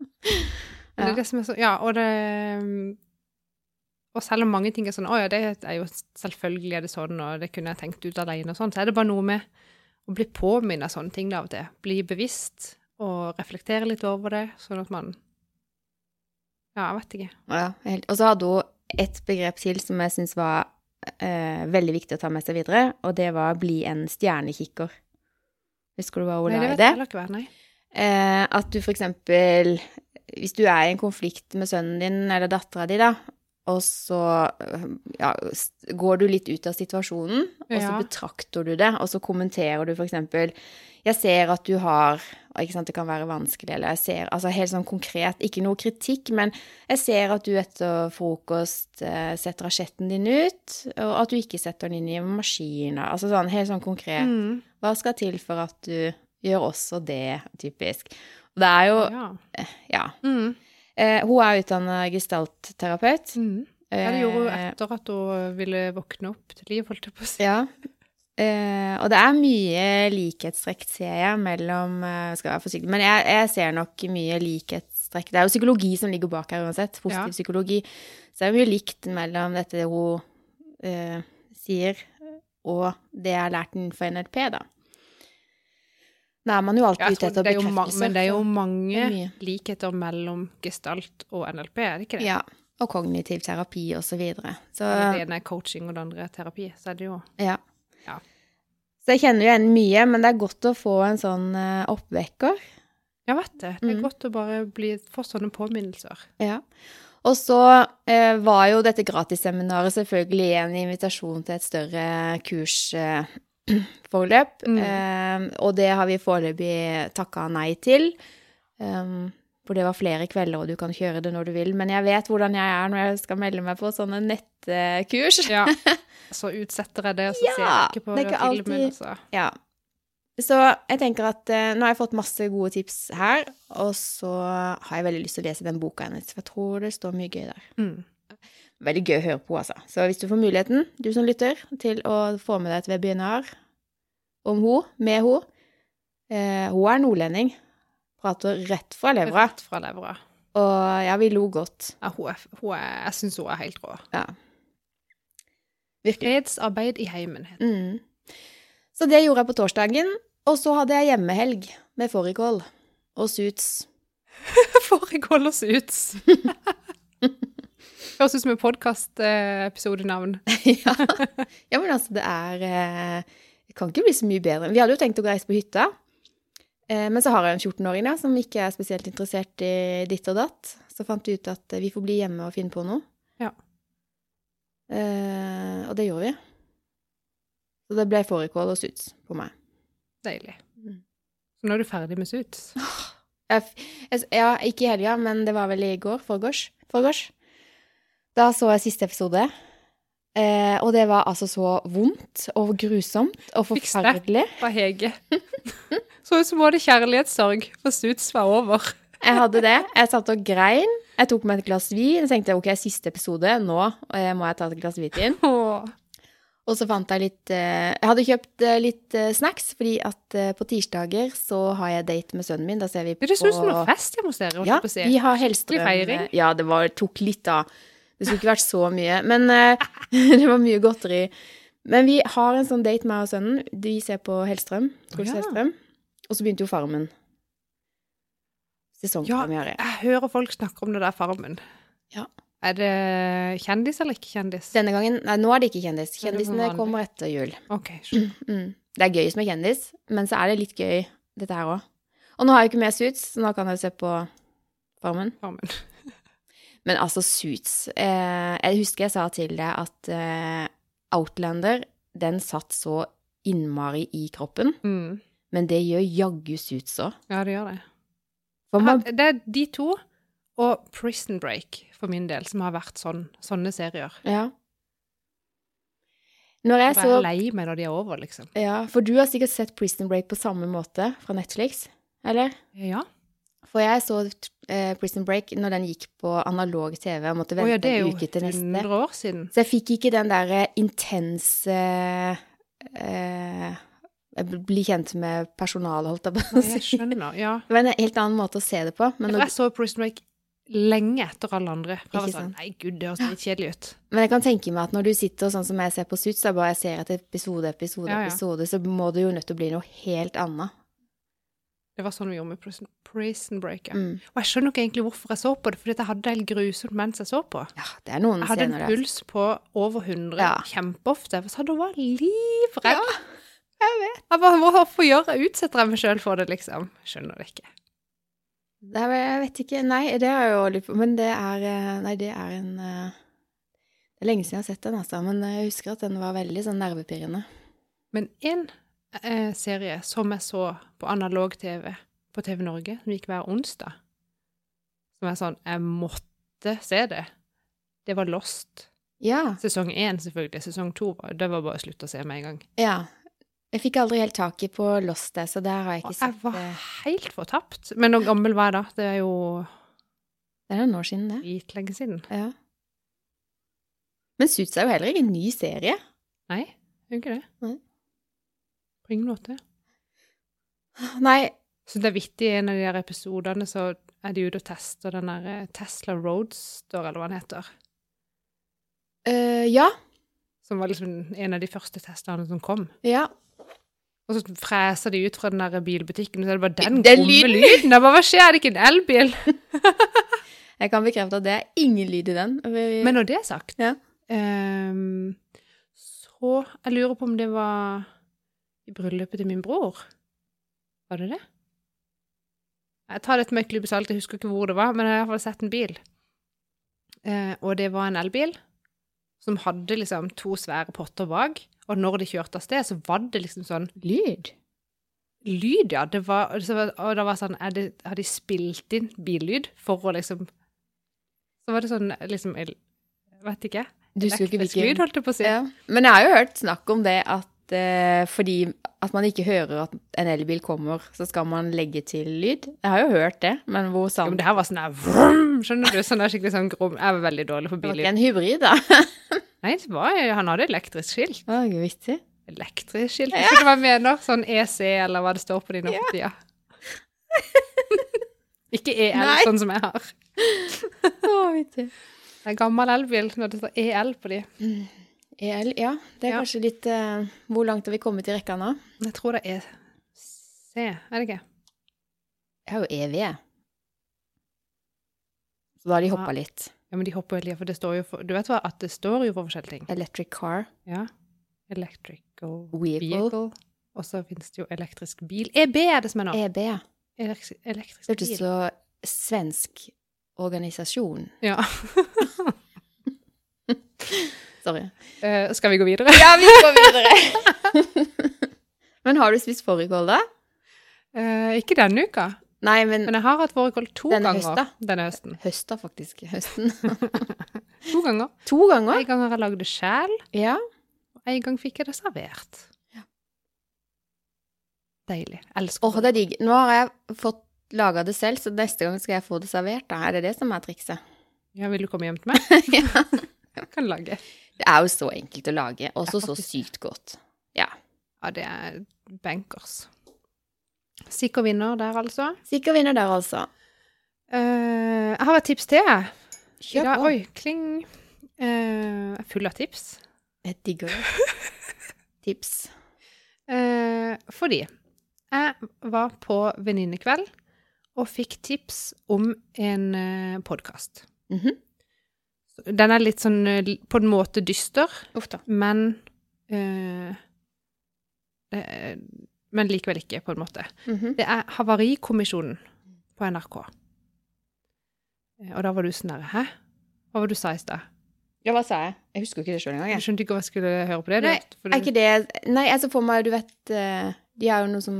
[SPEAKER 1] Men Det
[SPEAKER 2] Ja.
[SPEAKER 1] er det som er så, ja, og det Og selv om mange ting er sånn Å ja, det er jo selvfølgelig er det sånn, og det kunne jeg tenkt ut alene og sånn, så er det bare noe med å bli påminnet sånne ting da av og til. Bli bevisst og reflektere litt over det, sånn at man Ja, jeg vet ikke.
[SPEAKER 2] Ja, helt. Og så hadde hun et begrep til som jeg syns var eh, veldig viktig å ta med seg videre, og det var 'bli en stjernekikker'. Husker du hva hun
[SPEAKER 1] Nei,
[SPEAKER 2] la i
[SPEAKER 1] vet
[SPEAKER 2] det?
[SPEAKER 1] jeg heller ikke hva er, nei.
[SPEAKER 2] Eh, at du for eksempel, hvis du er i en konflikt med sønnen din eller dattera di, da, og så eh, ja, s- går du litt ut av situasjonen, og så
[SPEAKER 1] Ja.
[SPEAKER 2] betrakter du det, og så kommenterer du for eksempel, jeg ser at du har, og ikke sant, det kan være vanskelig, eller jeg ser, altså helt sånn konkret, ikke noe kritikk, men jeg ser at du etter frokost eh, setter asjetten din ut, og at du ikke setter den inn i maskinen, altså sånn, helt sånn konkret.
[SPEAKER 1] Mm,
[SPEAKER 2] Hva skal til for at du gjør også det, typisk? Og Det er jo
[SPEAKER 1] ja.
[SPEAKER 2] Ja.
[SPEAKER 1] Mm,
[SPEAKER 2] Eh, hun er utdanna gestaltterapeut.
[SPEAKER 1] mm. Ja, det gjorde hun
[SPEAKER 2] Eh,
[SPEAKER 1] etter at hun ville våkne opp til liv, holdt jeg på å si.
[SPEAKER 2] Ja. Eh, og det er mye likhetstrekk, ser jeg, mellom eh, Skal være forsiktig, men jeg, jeg ser nok mye likhetstrekk. Det er jo psykologi som ligger bak her uansett.
[SPEAKER 1] Ja.
[SPEAKER 2] Positiv psykologi. Så det er mye likt mellom dette hun eh, sier, og det jeg har lært innenfor NLP, da. Da er man jo alltid
[SPEAKER 1] Ja, jeg
[SPEAKER 2] ute
[SPEAKER 1] tror
[SPEAKER 2] etter
[SPEAKER 1] det er jo ma-
[SPEAKER 2] bekreftelse.
[SPEAKER 1] men det er jo
[SPEAKER 2] så-
[SPEAKER 1] mange
[SPEAKER 2] Det er mye.
[SPEAKER 1] likheter mellom gestalt og NLP, er det ikke det?
[SPEAKER 2] Ja, og kognitiv terapi og så videre. Så,
[SPEAKER 1] Når det ene er coaching, og det andre er terapi, så er det jo
[SPEAKER 2] ja.
[SPEAKER 1] Ja.
[SPEAKER 2] så jeg kjenner jo igjen mye, men det er godt å få en sånn eh, oppvekker.
[SPEAKER 1] Ja, vet du. Det er
[SPEAKER 2] Mm.
[SPEAKER 1] godt å bare bli, få sånne påminnelser.
[SPEAKER 2] Ja. Og så eh, var jo dette gratisseminaret selvfølgelig en invitasjon til et større kursforløp, eh,
[SPEAKER 1] Mm.
[SPEAKER 2] eh, og det har vi foreløpig takka nei til. Um, for det var flere kvelder, og du kan kjøre det når du vil. Men jeg vet hvordan jeg er når jeg skal melde meg på sånne nettkurs.
[SPEAKER 1] Ja. Så utsetter jeg det, og så
[SPEAKER 2] Ja,
[SPEAKER 1] ser jeg ikke på
[SPEAKER 2] det er ikke
[SPEAKER 1] filmen.
[SPEAKER 2] alltid-
[SPEAKER 1] Altså.
[SPEAKER 2] Ja. Så jeg tenker at eh, nå har jeg fått masse gode tips her, og så har jeg veldig lyst til å lese den boka hennes, for jeg tror det står mye gøy der.
[SPEAKER 1] Mm.
[SPEAKER 2] Veldig gøy å høre på, altså. Så hvis du får muligheten, du som lytter, til å få med deg et webinar om ho, med ho. Eh, hun er nordlending, prater rett fra levra,
[SPEAKER 1] Rett fra levra.
[SPEAKER 2] og ja, vi lo godt.
[SPEAKER 1] Ja, hun er, hun er, jeg syns hun er helt rå.
[SPEAKER 2] Ja. Virkelig.
[SPEAKER 1] Fredsarbeid i heimen. heter det.
[SPEAKER 2] Mm. Så det gjorde jeg på torsdagen. Og så hadde jeg hjemmehelg med fårikål og suits.
[SPEAKER 1] Fårikål og suits. Høres ut som en podkastepisodenavn.
[SPEAKER 2] ja. ja, men altså, det er eh, Det kan ikke bli så mye bedre. Vi hadde jo tenkt å reise på hytta, eh, men så har jeg en 14-åring da, som ikke er spesielt interessert i ditt og datt. Så fant vi ut at eh, vi får bli hjemme og finne på noe.
[SPEAKER 1] Ja.
[SPEAKER 2] Eh, og det gjorde vi. Så det ble fårikål og suits på meg.
[SPEAKER 1] Deilig.
[SPEAKER 2] Mm.
[SPEAKER 1] Så nå er du ferdig med suits.
[SPEAKER 2] Jeg, f- jeg, s- ja, ikke i helga, men det var vel i går, forgårs. forgårs. Da så jeg siste episode, eh, og det var altså så vondt og grusomt og
[SPEAKER 1] Fikk sterk
[SPEAKER 2] forferdelig.
[SPEAKER 1] Fra Hege. Så ut som både kjærlighetssorg og suits var over.
[SPEAKER 2] Jeg hadde det. Jeg satt og grein. Jeg tok meg et glass vin. Så tenkte jeg, ok, siste episode, nå eh, må jeg ta et glass hvitvin.
[SPEAKER 1] Åh.
[SPEAKER 2] Og så fant jeg litt eh, Jeg hadde kjøpt eh, litt eh, snacks, fordi at eh, på tirsdager så har jeg date med sønnen min. Da ser vi på
[SPEAKER 1] Det ser ut som noe fest hjemme hos dere. holdt
[SPEAKER 2] Ja,
[SPEAKER 1] jeg på å si.
[SPEAKER 2] vi har Hellstrøm.
[SPEAKER 1] Skikkelig feiring.
[SPEAKER 2] Ja, det var, tok litt av. Det skulle ikke vært så mye. Men eh, det var mye godteri. Men vi har en sånn date, meg og sønnen. De ser på Hellstrøm. Truls
[SPEAKER 1] Å, ja.
[SPEAKER 2] Hellstrøm. Og så begynte jo Farmen. Sesongpremiere.
[SPEAKER 1] Jeg hører folk snakke om det der Farmen.
[SPEAKER 2] Ja.
[SPEAKER 1] Er det kjendis eller ikke kjendis?
[SPEAKER 2] Denne gangen Nei, nå er det ikke kjendis.
[SPEAKER 1] Nei, det var
[SPEAKER 2] Kjendisene
[SPEAKER 1] vanlig.
[SPEAKER 2] kommer etter jul.
[SPEAKER 1] Ok, skjønner.
[SPEAKER 2] Mm. Det er gøy som er kjendis, men så er det litt gøy, dette her òg. Og nå har jeg jo ikke mer suits, så nå kan jeg jo se på Farmen.
[SPEAKER 1] Farmen.
[SPEAKER 2] Men altså, Suits eh, Jeg husker jeg sa til deg at eh, Outlander, den satt så innmari i kroppen.
[SPEAKER 1] Mm.
[SPEAKER 2] Men det gjør jaggu Suits òg.
[SPEAKER 1] Ja, det gjør det.
[SPEAKER 2] For man
[SPEAKER 1] Det er de to og Prison Break for min del som har vært sånn, sånne serier.
[SPEAKER 2] Ja. Når jeg
[SPEAKER 1] Jeg er
[SPEAKER 2] så
[SPEAKER 1] lei meg når de er over, liksom.
[SPEAKER 2] Ja, for du har sikkert sett Prison Break på samme måte fra Netflix, eller?
[SPEAKER 1] Ja.
[SPEAKER 2] For jeg så eh, Prison Break når den gikk på analog TV og måtte
[SPEAKER 1] Å
[SPEAKER 2] vente
[SPEAKER 1] ja, det er
[SPEAKER 2] en
[SPEAKER 1] jo
[SPEAKER 2] uke til neste.
[SPEAKER 1] 100 år siden.
[SPEAKER 2] Så jeg fikk ikke den der eh, intense eh, Bli kjent med personalet, holdt jeg på å
[SPEAKER 1] Nei, Jeg
[SPEAKER 2] si.
[SPEAKER 1] skjønner, ja.
[SPEAKER 2] Det var en helt annen måte å se det på. Men,
[SPEAKER 1] For
[SPEAKER 2] nå,
[SPEAKER 1] jeg så Prison Break lenge etter alle andre. For jeg
[SPEAKER 2] Ikke
[SPEAKER 1] var sånn,
[SPEAKER 2] sant.
[SPEAKER 1] nei gud, det høres litt kjedelig ut.
[SPEAKER 2] men jeg kan tenke meg at når du sitter sånn som jeg ser på Suits, da bare jeg ser etter episode, episode,
[SPEAKER 1] Ja, ja.
[SPEAKER 2] episode, så må det jo nødt til å bli noe helt annet.
[SPEAKER 1] Det var sånn vi gjorde med Prison, prison Break. Ja.
[SPEAKER 2] Mm.
[SPEAKER 1] Og jeg skjønner ikke egentlig hvorfor jeg så på det, fordi at jeg hadde det helt grusomt mens jeg så på.
[SPEAKER 2] Ja, det er noen
[SPEAKER 1] Jeg hadde en
[SPEAKER 2] scener der.
[SPEAKER 1] puls på over 100
[SPEAKER 2] Ja.
[SPEAKER 1] kjempeofte. Jeg sa da var jeg livredd.
[SPEAKER 2] Jeg vet.
[SPEAKER 1] Jeg bare, hvorfor gjør jeg utsetter jeg meg sjøl for det, liksom? Skjønner det ikke.
[SPEAKER 2] Det er, jeg vet ikke. Nei, det er jo litt Men det er eh, Nei, det er en eh, Det er lenge siden jeg har sett den, altså. Men jeg husker at den var veldig sånn nervepirrende.
[SPEAKER 1] Men en eh, serie som jeg så på analog TV på TV Norge, som gikk hver onsdag, som er sånn Jeg måtte se det. Det var Lost.
[SPEAKER 2] Ja.
[SPEAKER 1] Sesong én, selvfølgelig. Sesong to var- det var bare å slutte å se med en gang.
[SPEAKER 2] Ja. Jeg fikk aldri helt tak i på Lost, jeg, så der har jeg
[SPEAKER 1] Og
[SPEAKER 2] ikke
[SPEAKER 1] jeg
[SPEAKER 2] sett
[SPEAKER 1] var
[SPEAKER 2] eh,
[SPEAKER 1] helt fortapt. Men hvor gammel var jeg da? Det er jo
[SPEAKER 2] Det er noen år siden, det.
[SPEAKER 1] dritlenge siden.
[SPEAKER 2] Ja. Men Suits er jo heller ikke en ny serie.
[SPEAKER 1] Nei, det er jo ikke det.
[SPEAKER 2] Nei.
[SPEAKER 1] På ingen måte.
[SPEAKER 2] Nei,
[SPEAKER 1] Så det er vittig, i en av de der episodene så er de ute og tester den der eh, Tesla Roadster, eller hva den heter.
[SPEAKER 2] øh, ja.
[SPEAKER 1] Som var liksom en av de første testene som kom.
[SPEAKER 2] Ja.
[SPEAKER 1] Og så freser de ut fra den der bilbutikken, og så er det bare den,
[SPEAKER 2] Den
[SPEAKER 1] gromme
[SPEAKER 2] lyden.
[SPEAKER 1] lyden. Jeg bare, hva skjer, er det ikke en elbil?
[SPEAKER 2] Jeg kan bekrefte at det er ingen lyd i den. Vi-
[SPEAKER 1] Men når det er sagt,
[SPEAKER 2] Ja.
[SPEAKER 1] ehm, så jeg lurer på om det var i bryllupet til min bror. Var det det? Jeg tar dette med et klype salt, jeg husker ikke hvor det var, men jeg har i hvert fall sett en bil. Eh, og det var en elbil som hadde liksom to svære potter bak, og når de kjørte av sted, så var det liksom sånn
[SPEAKER 2] Lyd?
[SPEAKER 1] lyd, ja. Det var, så var- og da var det sånn, er det, har de spilt inn billyd for å liksom Så var det sånn liksom Jeg vet ikke.
[SPEAKER 2] Du husker jo
[SPEAKER 1] elektrisk
[SPEAKER 2] ikke hvilken
[SPEAKER 1] lyd, holdt jeg på å si.
[SPEAKER 2] Ja. Men jeg har jo hørt snakk om det at eh, fordi at man ikke hører at en elbil kommer, så skal man legge til lyd. Jeg har jo hørt det, men hvor
[SPEAKER 1] Jo, men
[SPEAKER 2] sant?
[SPEAKER 1] det her var sånn der vrum, Skjønner du? Sånn der skikkelig sånn grom Jeg var veldig dårlig på
[SPEAKER 2] Det var ikke
[SPEAKER 1] billyd.
[SPEAKER 2] en hybrid, da.
[SPEAKER 1] Nei, det var, han hadde elektrisk skilt.
[SPEAKER 2] Det var ikke vittig.
[SPEAKER 1] Elektrisk skilt, skjønner du hva jeg mener? Sånn EC, eller hva det står på de nå for tida. Ikke EL,
[SPEAKER 2] Nei.
[SPEAKER 1] sånn som jeg har.
[SPEAKER 2] Det var vittig.
[SPEAKER 1] Det er en gammel elbil når det står EL på E de.
[SPEAKER 2] EL, ja. Det er
[SPEAKER 1] Ja.
[SPEAKER 2] kanskje litt eh, Hvor langt har vi kommet i rekka nå?
[SPEAKER 1] Jeg tror det er C, er det ikke?
[SPEAKER 2] Jeg har jo EV. Så da har de hoppa
[SPEAKER 1] Ja.
[SPEAKER 2] litt.
[SPEAKER 1] Ja, men de hopper jo hele tida, for det står jo for Du vet hva, at det står jo for forskjellige ting.
[SPEAKER 2] Electric car.
[SPEAKER 1] Ja. Electrical
[SPEAKER 2] Vehicle.
[SPEAKER 1] vehicle. Og så finnes det jo elektrisk bil. EB er det som er nå.
[SPEAKER 2] EB. E ja.
[SPEAKER 1] Eleks- Elektrisk
[SPEAKER 2] Det hørtes
[SPEAKER 1] bil.
[SPEAKER 2] så svensk organisasjon.
[SPEAKER 1] Ja.
[SPEAKER 2] Sorry.
[SPEAKER 1] Eh, skal vi gå videre?
[SPEAKER 2] Ja, vi går videre! men har du spist fårikål, da?
[SPEAKER 1] Eh, ikke denne uka,
[SPEAKER 2] Nei, men
[SPEAKER 1] men jeg har hatt fårikål to
[SPEAKER 2] Denne
[SPEAKER 1] ganger
[SPEAKER 2] høsta.
[SPEAKER 1] denne høsten.
[SPEAKER 2] høsta, faktisk. Høsten.
[SPEAKER 1] To ganger.
[SPEAKER 2] To ganger?
[SPEAKER 1] En gang har jeg lagd det sjæl,
[SPEAKER 2] Ja.
[SPEAKER 1] og en gang fikk jeg det servert. Deilig. Elsker
[SPEAKER 2] Åh, det er digg. Nå har jeg fått laga det selv, så neste gang skal jeg få det servert. Da er det det som er trikset.
[SPEAKER 1] Ja, vil du komme hjem til meg?
[SPEAKER 2] ja.
[SPEAKER 1] Jeg kan lage.
[SPEAKER 2] Det er jo så enkelt å lage, og så
[SPEAKER 1] Ja,
[SPEAKER 2] så
[SPEAKER 1] faktisk.
[SPEAKER 2] sykt godt.
[SPEAKER 1] Ja, det er bankers. Sikker vinner der, altså.
[SPEAKER 2] Sikker vinner der, altså.
[SPEAKER 1] Eh, jeg har et tips til, jeg. I dag-
[SPEAKER 2] på.
[SPEAKER 1] Oi, kling. Eh, jeg er full av tips.
[SPEAKER 2] Jeg digger det. Tips.
[SPEAKER 1] Eh, fordi jeg var på venninnekveld og fikk tips om en eh, podkast.
[SPEAKER 2] Mhm.
[SPEAKER 1] Den er litt sånn eh, på en måte dyster,
[SPEAKER 2] Uff da.
[SPEAKER 1] men eh, eh, Men likevel ikke, på en måte.
[SPEAKER 2] Mhm.
[SPEAKER 1] Det er Havarikommisjonen på NRK. Eh, Og da var du sånn der Hæ? Hva var det du sa i stad?
[SPEAKER 2] Ja, hva sa jeg? Jeg husker ikke det sjøl engang.
[SPEAKER 1] Du
[SPEAKER 2] jeg.
[SPEAKER 1] skjønte ikke hva jeg skulle høre på det? du
[SPEAKER 2] Nei,
[SPEAKER 1] vet, for
[SPEAKER 2] Er
[SPEAKER 1] du-
[SPEAKER 2] ikke det Nei, jeg så for meg, du vet eh, De er jo noe som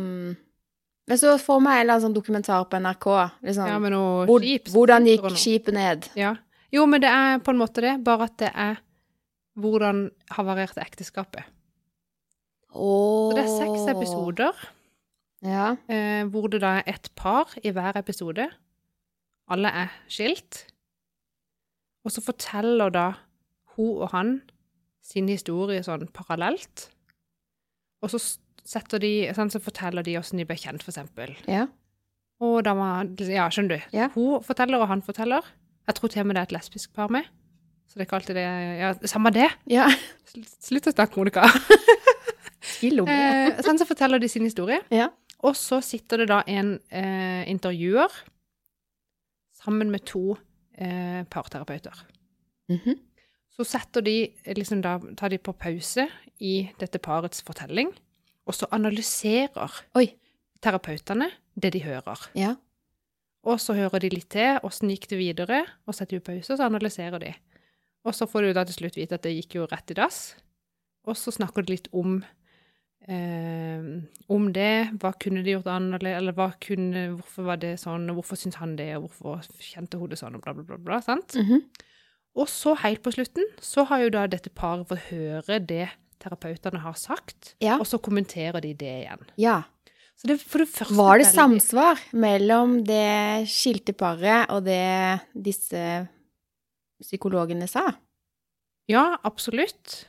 [SPEAKER 2] Jeg så for meg en eller annen sånn dokumentar på NRK. Liksom.
[SPEAKER 1] ja, med noe
[SPEAKER 2] hvor,
[SPEAKER 1] skip.
[SPEAKER 2] hvordan gikk
[SPEAKER 1] og noe.
[SPEAKER 2] skipet ned?
[SPEAKER 1] Ja. Jo, men det er på en måte det, bare at det er hvordan havarerte ekteskapet. Så det er seks
[SPEAKER 2] Åh.
[SPEAKER 1] episoder,
[SPEAKER 2] Ja.
[SPEAKER 1] eh, hvor det da er ett par i hver episode. Alle er skilt. Og så forteller da hun og han sin historie sånn parallelt. Og så s- setter de, sånn, så forteller de hvordan de ble kjent, for eksempel.
[SPEAKER 2] ja.
[SPEAKER 1] Og da var Ja, skjønner du.
[SPEAKER 2] Ja.
[SPEAKER 1] Hun forteller, og han forteller. Jeg tror til og med det er et lesbisk par med. Så det er ikke alltid det Ja, samme det.
[SPEAKER 2] Ja.
[SPEAKER 1] Sl- Slutt å snakke, Monica.
[SPEAKER 2] Skillo.
[SPEAKER 1] Eh, sånn så forteller de sin historie.
[SPEAKER 2] Ja.
[SPEAKER 1] Og så sitter det da en eh, intervjuer sammen med to eh, parterapeuter.
[SPEAKER 2] Mhm.
[SPEAKER 1] Så setter de liksom da Tar de på pause i dette parets fortelling, og så analyserer
[SPEAKER 2] Oi.
[SPEAKER 1] terapeutene det de hører.
[SPEAKER 2] Ja.
[SPEAKER 1] Og så hører de litt til, åssen gikk det videre, og setter jo pause, og så analyserer de. Og så får du da til slutt vite at det gikk jo rett i dass. Og så snakker de litt om eh, om det, hva kunne de gjort annerledes, eller hva kunne, hvorfor var det sånn, og hvorfor syntes han det, og hvorfor kjente hun det sånn, og bla, bla, bla, bla, sant?
[SPEAKER 2] Mhm.
[SPEAKER 1] Og så helt på slutten, så har jo da dette paret fått høre det terapeutene har sagt,
[SPEAKER 2] Ja.
[SPEAKER 1] og så kommenterer de det igjen.
[SPEAKER 2] ja.
[SPEAKER 1] Så det, for det første...
[SPEAKER 2] Var det
[SPEAKER 1] veldig-
[SPEAKER 2] samsvar mellom det skilte paret og det disse psykologene sa?
[SPEAKER 1] Ja, absolutt.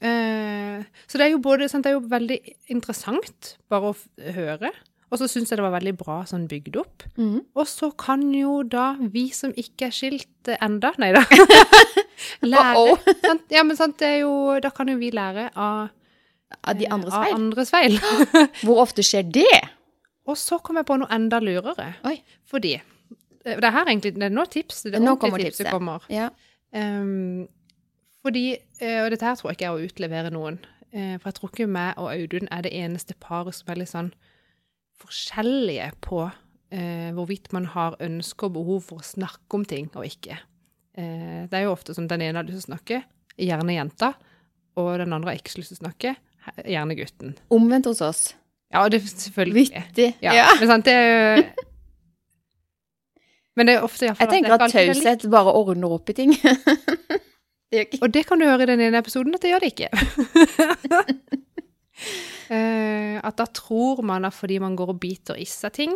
[SPEAKER 1] Eh, så det er jo både sant, Det er jo veldig interessant bare å f høre. Og så syns jeg det var veldig bra sånn bygd opp.
[SPEAKER 2] Mhm.
[SPEAKER 1] Og så kan jo da vi som ikke er skilt eh, enda, nei da Lære.
[SPEAKER 2] Uh-oh.
[SPEAKER 1] sant? Ja, men sant, det er jo Da kan jo vi lære av,
[SPEAKER 2] Av de
[SPEAKER 1] eh,
[SPEAKER 2] andres
[SPEAKER 1] av
[SPEAKER 2] feil?
[SPEAKER 1] andres feil.
[SPEAKER 2] Hvor ofte skjer det?
[SPEAKER 1] og så kom jeg på noe enda lurere.
[SPEAKER 2] Oi.
[SPEAKER 1] Fordi eh, Det er her egentlig Det er nå tipset. Det er
[SPEAKER 2] Nå
[SPEAKER 1] ordentlige
[SPEAKER 2] kommer
[SPEAKER 1] tipset
[SPEAKER 2] tipset.
[SPEAKER 1] kommer.
[SPEAKER 2] Ja.
[SPEAKER 1] Ehm, fordi, eh, og dette her tror jeg ikke er å utlevere noen, eh, for jeg tror ikke meg og Audun er det eneste paret som er litt sånn forskjellige på eh, hvorvidt man har ønske og behov for å snakke om ting og ikke. Eh, det er jo ofte sånn den ene har lyst til å snakke, gjerne jenta, og den andre har ikke så lyst til å snakke, he- gjerne gutten.
[SPEAKER 2] Omvendt hos oss.
[SPEAKER 1] Ja, og det er selvfølgelig.
[SPEAKER 2] Vittig.
[SPEAKER 1] Ja,
[SPEAKER 2] Ja.
[SPEAKER 1] Men, sant, det er, jo- men det er ofte i hvert fall
[SPEAKER 2] Jeg tenker
[SPEAKER 1] det er
[SPEAKER 2] at
[SPEAKER 1] ikke alltid det er likt.
[SPEAKER 2] taushet bare ordner opp i ting. det gjør ikke
[SPEAKER 1] Og det kan du høre i den ene episoden at det gjør det ikke. Eh, at da tror man at fordi man går og biter i seg ting,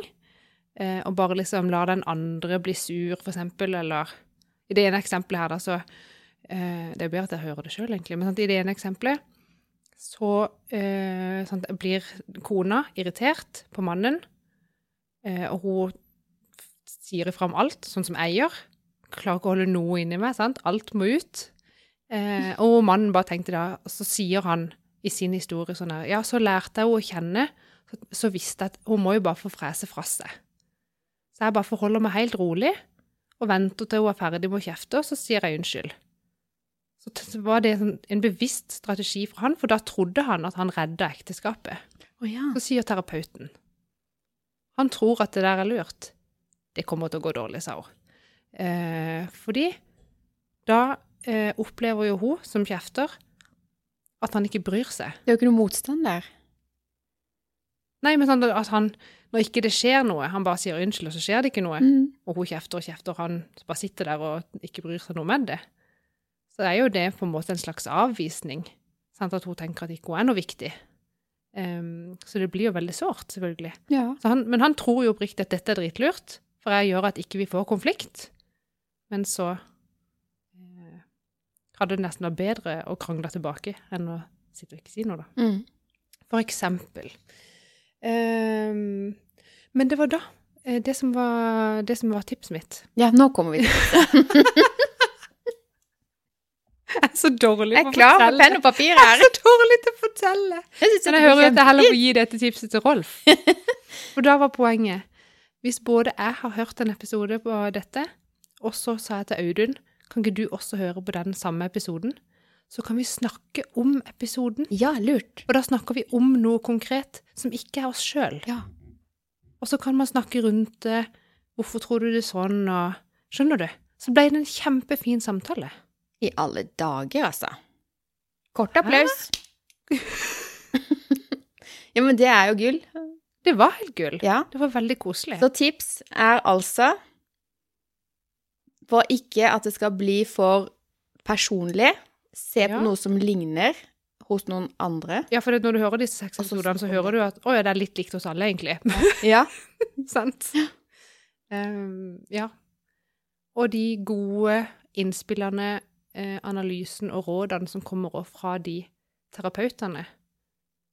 [SPEAKER 1] eh, og bare liksom lar den andre bli sur, for eksempel, eller I det ene eksempelet her, da, så eh, Det er jo bedre at jeg hører det sjøl, egentlig, men sant, i det ene eksempelet så eh, sant, blir kona irritert på mannen, eh, og hun f- sier ifra om alt, sånn som jeg gjør. Klarer ikke å holde noe inni meg, sant. Alt må ut. Eh, og mannen bare tenkte da, og så sier han i sin historie sånn her, ja, så lærte jeg henne å kjenne, så, så visste jeg at hun må jo bare få frese fra seg. Så jeg bare forholder meg helt rolig, og venter til hun er ferdig med å kjefte, og så sier jeg unnskyld. Så t- så var det en, en bevisst strategi fra han, for da trodde han at han redda ekteskapet.
[SPEAKER 2] Å ja.
[SPEAKER 1] Så sier terapeuten. Han tror at det der er lurt. Det kommer til å gå dårlig, sa hun. Eh, fordi da eh, opplever jo hun, som kjefter, at han ikke bryr seg.
[SPEAKER 2] Det er jo ikke noe motstand der.
[SPEAKER 1] Nei, men sånn at han, når ikke det skjer noe, han bare sier unnskyld, og så skjer det ikke noe.
[SPEAKER 2] Mm.
[SPEAKER 1] Og hun kjefter og kjefter, og han bare sitter der og ikke bryr seg noe med det. Så det er jo det på en måte en slags avvisning, sant? at hun tenker at ikke hun er noe viktig. Em, så det blir jo veldig sårt, selvfølgelig.
[SPEAKER 2] Ja.
[SPEAKER 1] Så han, men han tror jo oppriktig at dette er dritlurt, for jeg gjør at ikke vi får konflikt. Men så eh, hadde det nesten vært bedre å krangle tilbake enn å sitte og ikke si noe, da.
[SPEAKER 2] Mm.
[SPEAKER 1] For eksempel. Ehm, men det var da. eh, Det som var, det som var tipset mitt.
[SPEAKER 2] Ja, nå kommer vi til
[SPEAKER 1] Jeg er så dårlig
[SPEAKER 2] Jeg er klar med penn og papir her.
[SPEAKER 1] Så dårlig til å fortelle!
[SPEAKER 2] Jeg synes
[SPEAKER 1] Men jeg hører jo at jeg heller må gi dette tipset til Rolf. For da var poenget Hvis både jeg har hørt en episode på dette, og så sa jeg til Audun Kan ikke du også høre på den samme episoden? Så kan vi snakke om episoden.
[SPEAKER 2] Ja, lurt.
[SPEAKER 1] Og da snakker vi om noe konkret som ikke er oss sjøl.
[SPEAKER 2] Ja.
[SPEAKER 1] Og så kan man snakke rundt det. Hvorfor tror du det sånn? Og, skjønner du? Så ble det en kjempefin samtale.
[SPEAKER 2] I alle dager, altså. Kort applaus. ja, men det er jo gull.
[SPEAKER 1] Det var helt gull.
[SPEAKER 2] Ja.
[SPEAKER 1] Det var veldig koselig.
[SPEAKER 2] Så tips er altså For ikke at det skal bli for personlig, se på
[SPEAKER 1] Ja.
[SPEAKER 2] noe som ligner hos noen andre.
[SPEAKER 1] Ja, for det, når du hører disse seks
[SPEAKER 2] Og så
[SPEAKER 1] episodene, så
[SPEAKER 2] snakker vi om
[SPEAKER 1] hører du at å ja, det er litt likt hos alle, egentlig.
[SPEAKER 2] Ja.
[SPEAKER 1] Sant? Ehm, ja. Og de gode innspillene, eh, analysen og rådene som kommer også fra de terapeutene,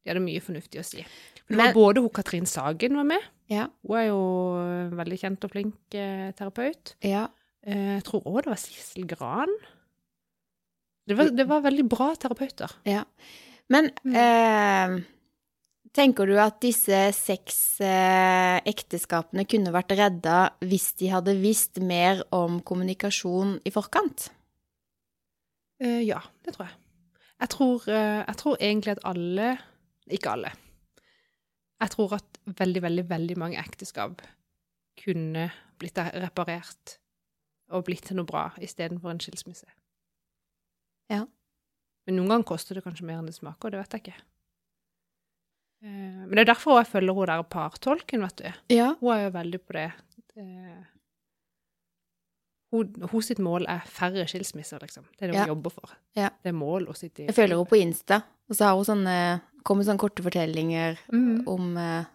[SPEAKER 1] de hadde mye fornuftig å si. For det var
[SPEAKER 2] Men-
[SPEAKER 1] både hun Katrin Sagen var med,
[SPEAKER 2] Ja.
[SPEAKER 1] hun er jo en veldig kjent og flink eh, terapeut.
[SPEAKER 2] ja.
[SPEAKER 1] Eh, jeg tror også det var Sissel Gran. Det var, det var veldig bra terapeuter.
[SPEAKER 2] Ja. Men eh, tenker du at disse seks eh, ekteskapene kunne vært redda hvis de hadde visst mer om kommunikasjon i forkant?
[SPEAKER 1] Eh, ja, det tror jeg. Jeg tror, eh, jeg tror egentlig at alle Ikke alle. Jeg tror at veldig, veldig, veldig mange ekteskap kunne blitt reparert og blitt til noe bra istedenfor en skilsmisse.
[SPEAKER 2] Ja.
[SPEAKER 1] Men noen ganger koster det kanskje mer enn det smaker, det vet jeg ikke. Eh, Men det er derfor jeg følger hun der partolken, vet du.
[SPEAKER 2] Ja.
[SPEAKER 1] Hun er jo veldig på det. Eh, Hun, hun sitt mål er færre skilsmisser, liksom. Det er det hun
[SPEAKER 2] Ja.
[SPEAKER 1] jobber for.
[SPEAKER 2] Ja.
[SPEAKER 1] Det er mål å sitte i.
[SPEAKER 2] Jeg følger henne på Insta, og så har hun sånne, kommer sånne korte fortellinger
[SPEAKER 1] Mm.
[SPEAKER 2] om eh,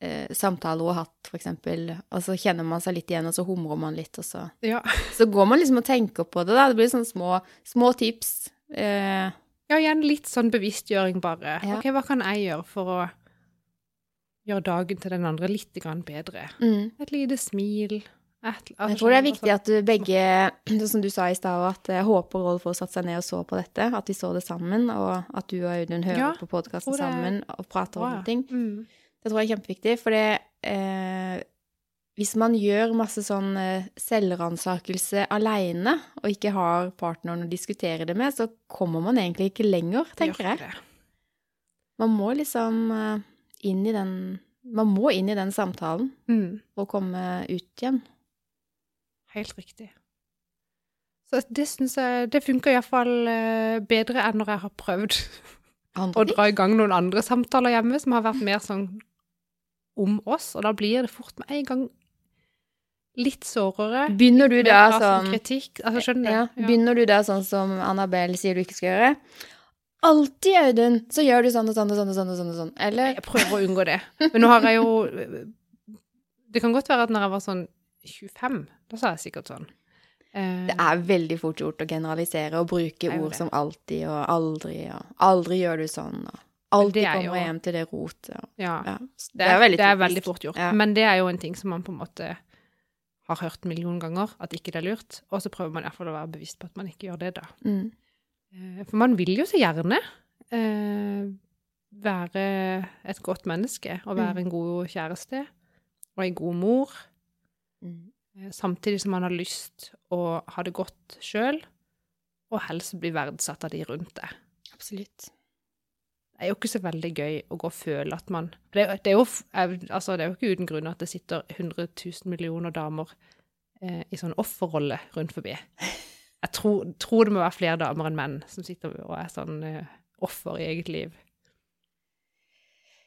[SPEAKER 2] eh, samtaler hun har hatt, for eksempel. Og så kjenner man seg litt igjen, og så humrer man litt, og så
[SPEAKER 1] Ja.
[SPEAKER 2] Så går man liksom og tenker på det, da. Det blir sånne små, små tips. Eh,
[SPEAKER 1] ja, igjen litt sånn bevisstgjøring, bare.
[SPEAKER 2] Ja.
[SPEAKER 1] OK, hva kan jeg gjøre for å gjøre dagen til den andre litt grann bedre?
[SPEAKER 2] mm.
[SPEAKER 1] Et lite smil. Et, altså,
[SPEAKER 2] Jeg tror det er viktig at du begge, sånn som du sa i stad, at jeg håper Rolf får satt seg ned og så på dette, at de så det sammen, og at du og Audun hører
[SPEAKER 1] Ja,
[SPEAKER 2] på podkasten
[SPEAKER 1] tror det er
[SPEAKER 2] sammen og prater om ting.
[SPEAKER 1] Mm.
[SPEAKER 2] Det tror jeg er kjempeviktig, for det eh, Hvis man gjør masse sånn eh, selvransakelse aleine, og ikke har partneren å diskutere det med, så kommer man egentlig ikke lenger, tenker
[SPEAKER 1] Gjør
[SPEAKER 2] jeg.
[SPEAKER 1] det.
[SPEAKER 2] Man må liksom eh, inn i den Man må inn i den samtalen
[SPEAKER 1] Mm.
[SPEAKER 2] og komme ut igjen.
[SPEAKER 1] Helt riktig. Så det syns jeg Det funker iallfall eh, bedre enn når jeg har prøvd
[SPEAKER 2] Andre
[SPEAKER 1] å dra i gang noen andre samtaler hjemme som har vært mer sånn om oss, og da blir det fort med en gang litt sårere.
[SPEAKER 2] Begynner du
[SPEAKER 1] Mer
[SPEAKER 2] da
[SPEAKER 1] krass
[SPEAKER 2] Mm. sånn
[SPEAKER 1] Kritikk. Altså, skjønner
[SPEAKER 2] ja,
[SPEAKER 1] du? Ja.
[SPEAKER 2] Begynner du da sånn som Annabelle sier du ikke skal gjøre? Alltid, Audun, så gjør du sånn og sånn og sånn og sånn. og sånn, og sånn. Eller
[SPEAKER 1] Jeg prøver å unngå det. Men nå har jeg jo eh, Det kan godt være at når jeg var sånn 25, da sa jeg sikkert sånn. Eh,
[SPEAKER 2] Det er veldig fort gjort å generalisere og bruke
[SPEAKER 1] er jo
[SPEAKER 2] ord
[SPEAKER 1] det.
[SPEAKER 2] som alltid og aldri og aldri gjør du sånn og alltid
[SPEAKER 1] det er
[SPEAKER 2] kommer
[SPEAKER 1] jo-
[SPEAKER 2] hjem til det rotet. og-
[SPEAKER 1] ja.
[SPEAKER 2] Ja.
[SPEAKER 1] Det er, det er veldig,
[SPEAKER 2] typisk.
[SPEAKER 1] fort gjort.
[SPEAKER 2] Ja.
[SPEAKER 1] Men det er jo en ting som man på en måte har hørt en million ganger, at ikke det er lurt. Og så prøver man iallfall å være bevisst på at man ikke gjør det, da.
[SPEAKER 2] Mm.
[SPEAKER 1] Eh, For man vil jo så gjerne eh, være et godt menneske og være en god kjæreste og en god mor, eh, samtidig som man har lyst å ha det godt sjøl, og helst bli verdsatt av de rundt deg.
[SPEAKER 2] Absolutt.
[SPEAKER 1] Det er jo ikke så veldig gøy å gå og føle at man for det, er jo- det, er jo, f- er- altså, det er jo ikke uten grunn at det sitter 100 000 millioner damer eh, i sånn offerrolle rundt forbi. Jeg tror, tror det må være flere damer enn menn som sitter og er sånn eh, offer i eget liv.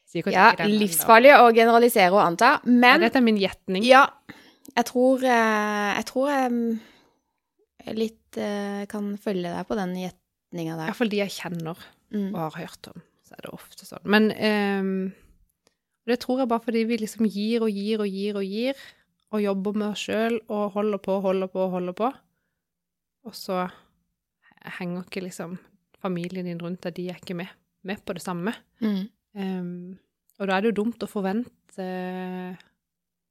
[SPEAKER 1] Sikkert
[SPEAKER 2] Ja,
[SPEAKER 1] ikke den enda.
[SPEAKER 2] livsfarlig å generalisere og anta,
[SPEAKER 1] Ja,
[SPEAKER 2] men
[SPEAKER 1] Dette er min gjetning.
[SPEAKER 2] ja, jeg tror eh, Jeg tror jeg mm, litt eh, kan følge deg på den gjetninga der.
[SPEAKER 1] Iallfall de jeg kjenner og
[SPEAKER 2] Mm.
[SPEAKER 1] har hørt om, så er det ofte sånn. Men ehm, det tror jeg bare fordi vi liksom gir og gir og gir og gir, og jobber med oss sjøl og holder på, holder på, holder på. Og så henger ikke liksom familien din rundt deg, de er ikke med, med på det samme.
[SPEAKER 2] Mm.
[SPEAKER 1] Ehm, og da er det jo dumt å forvente eh,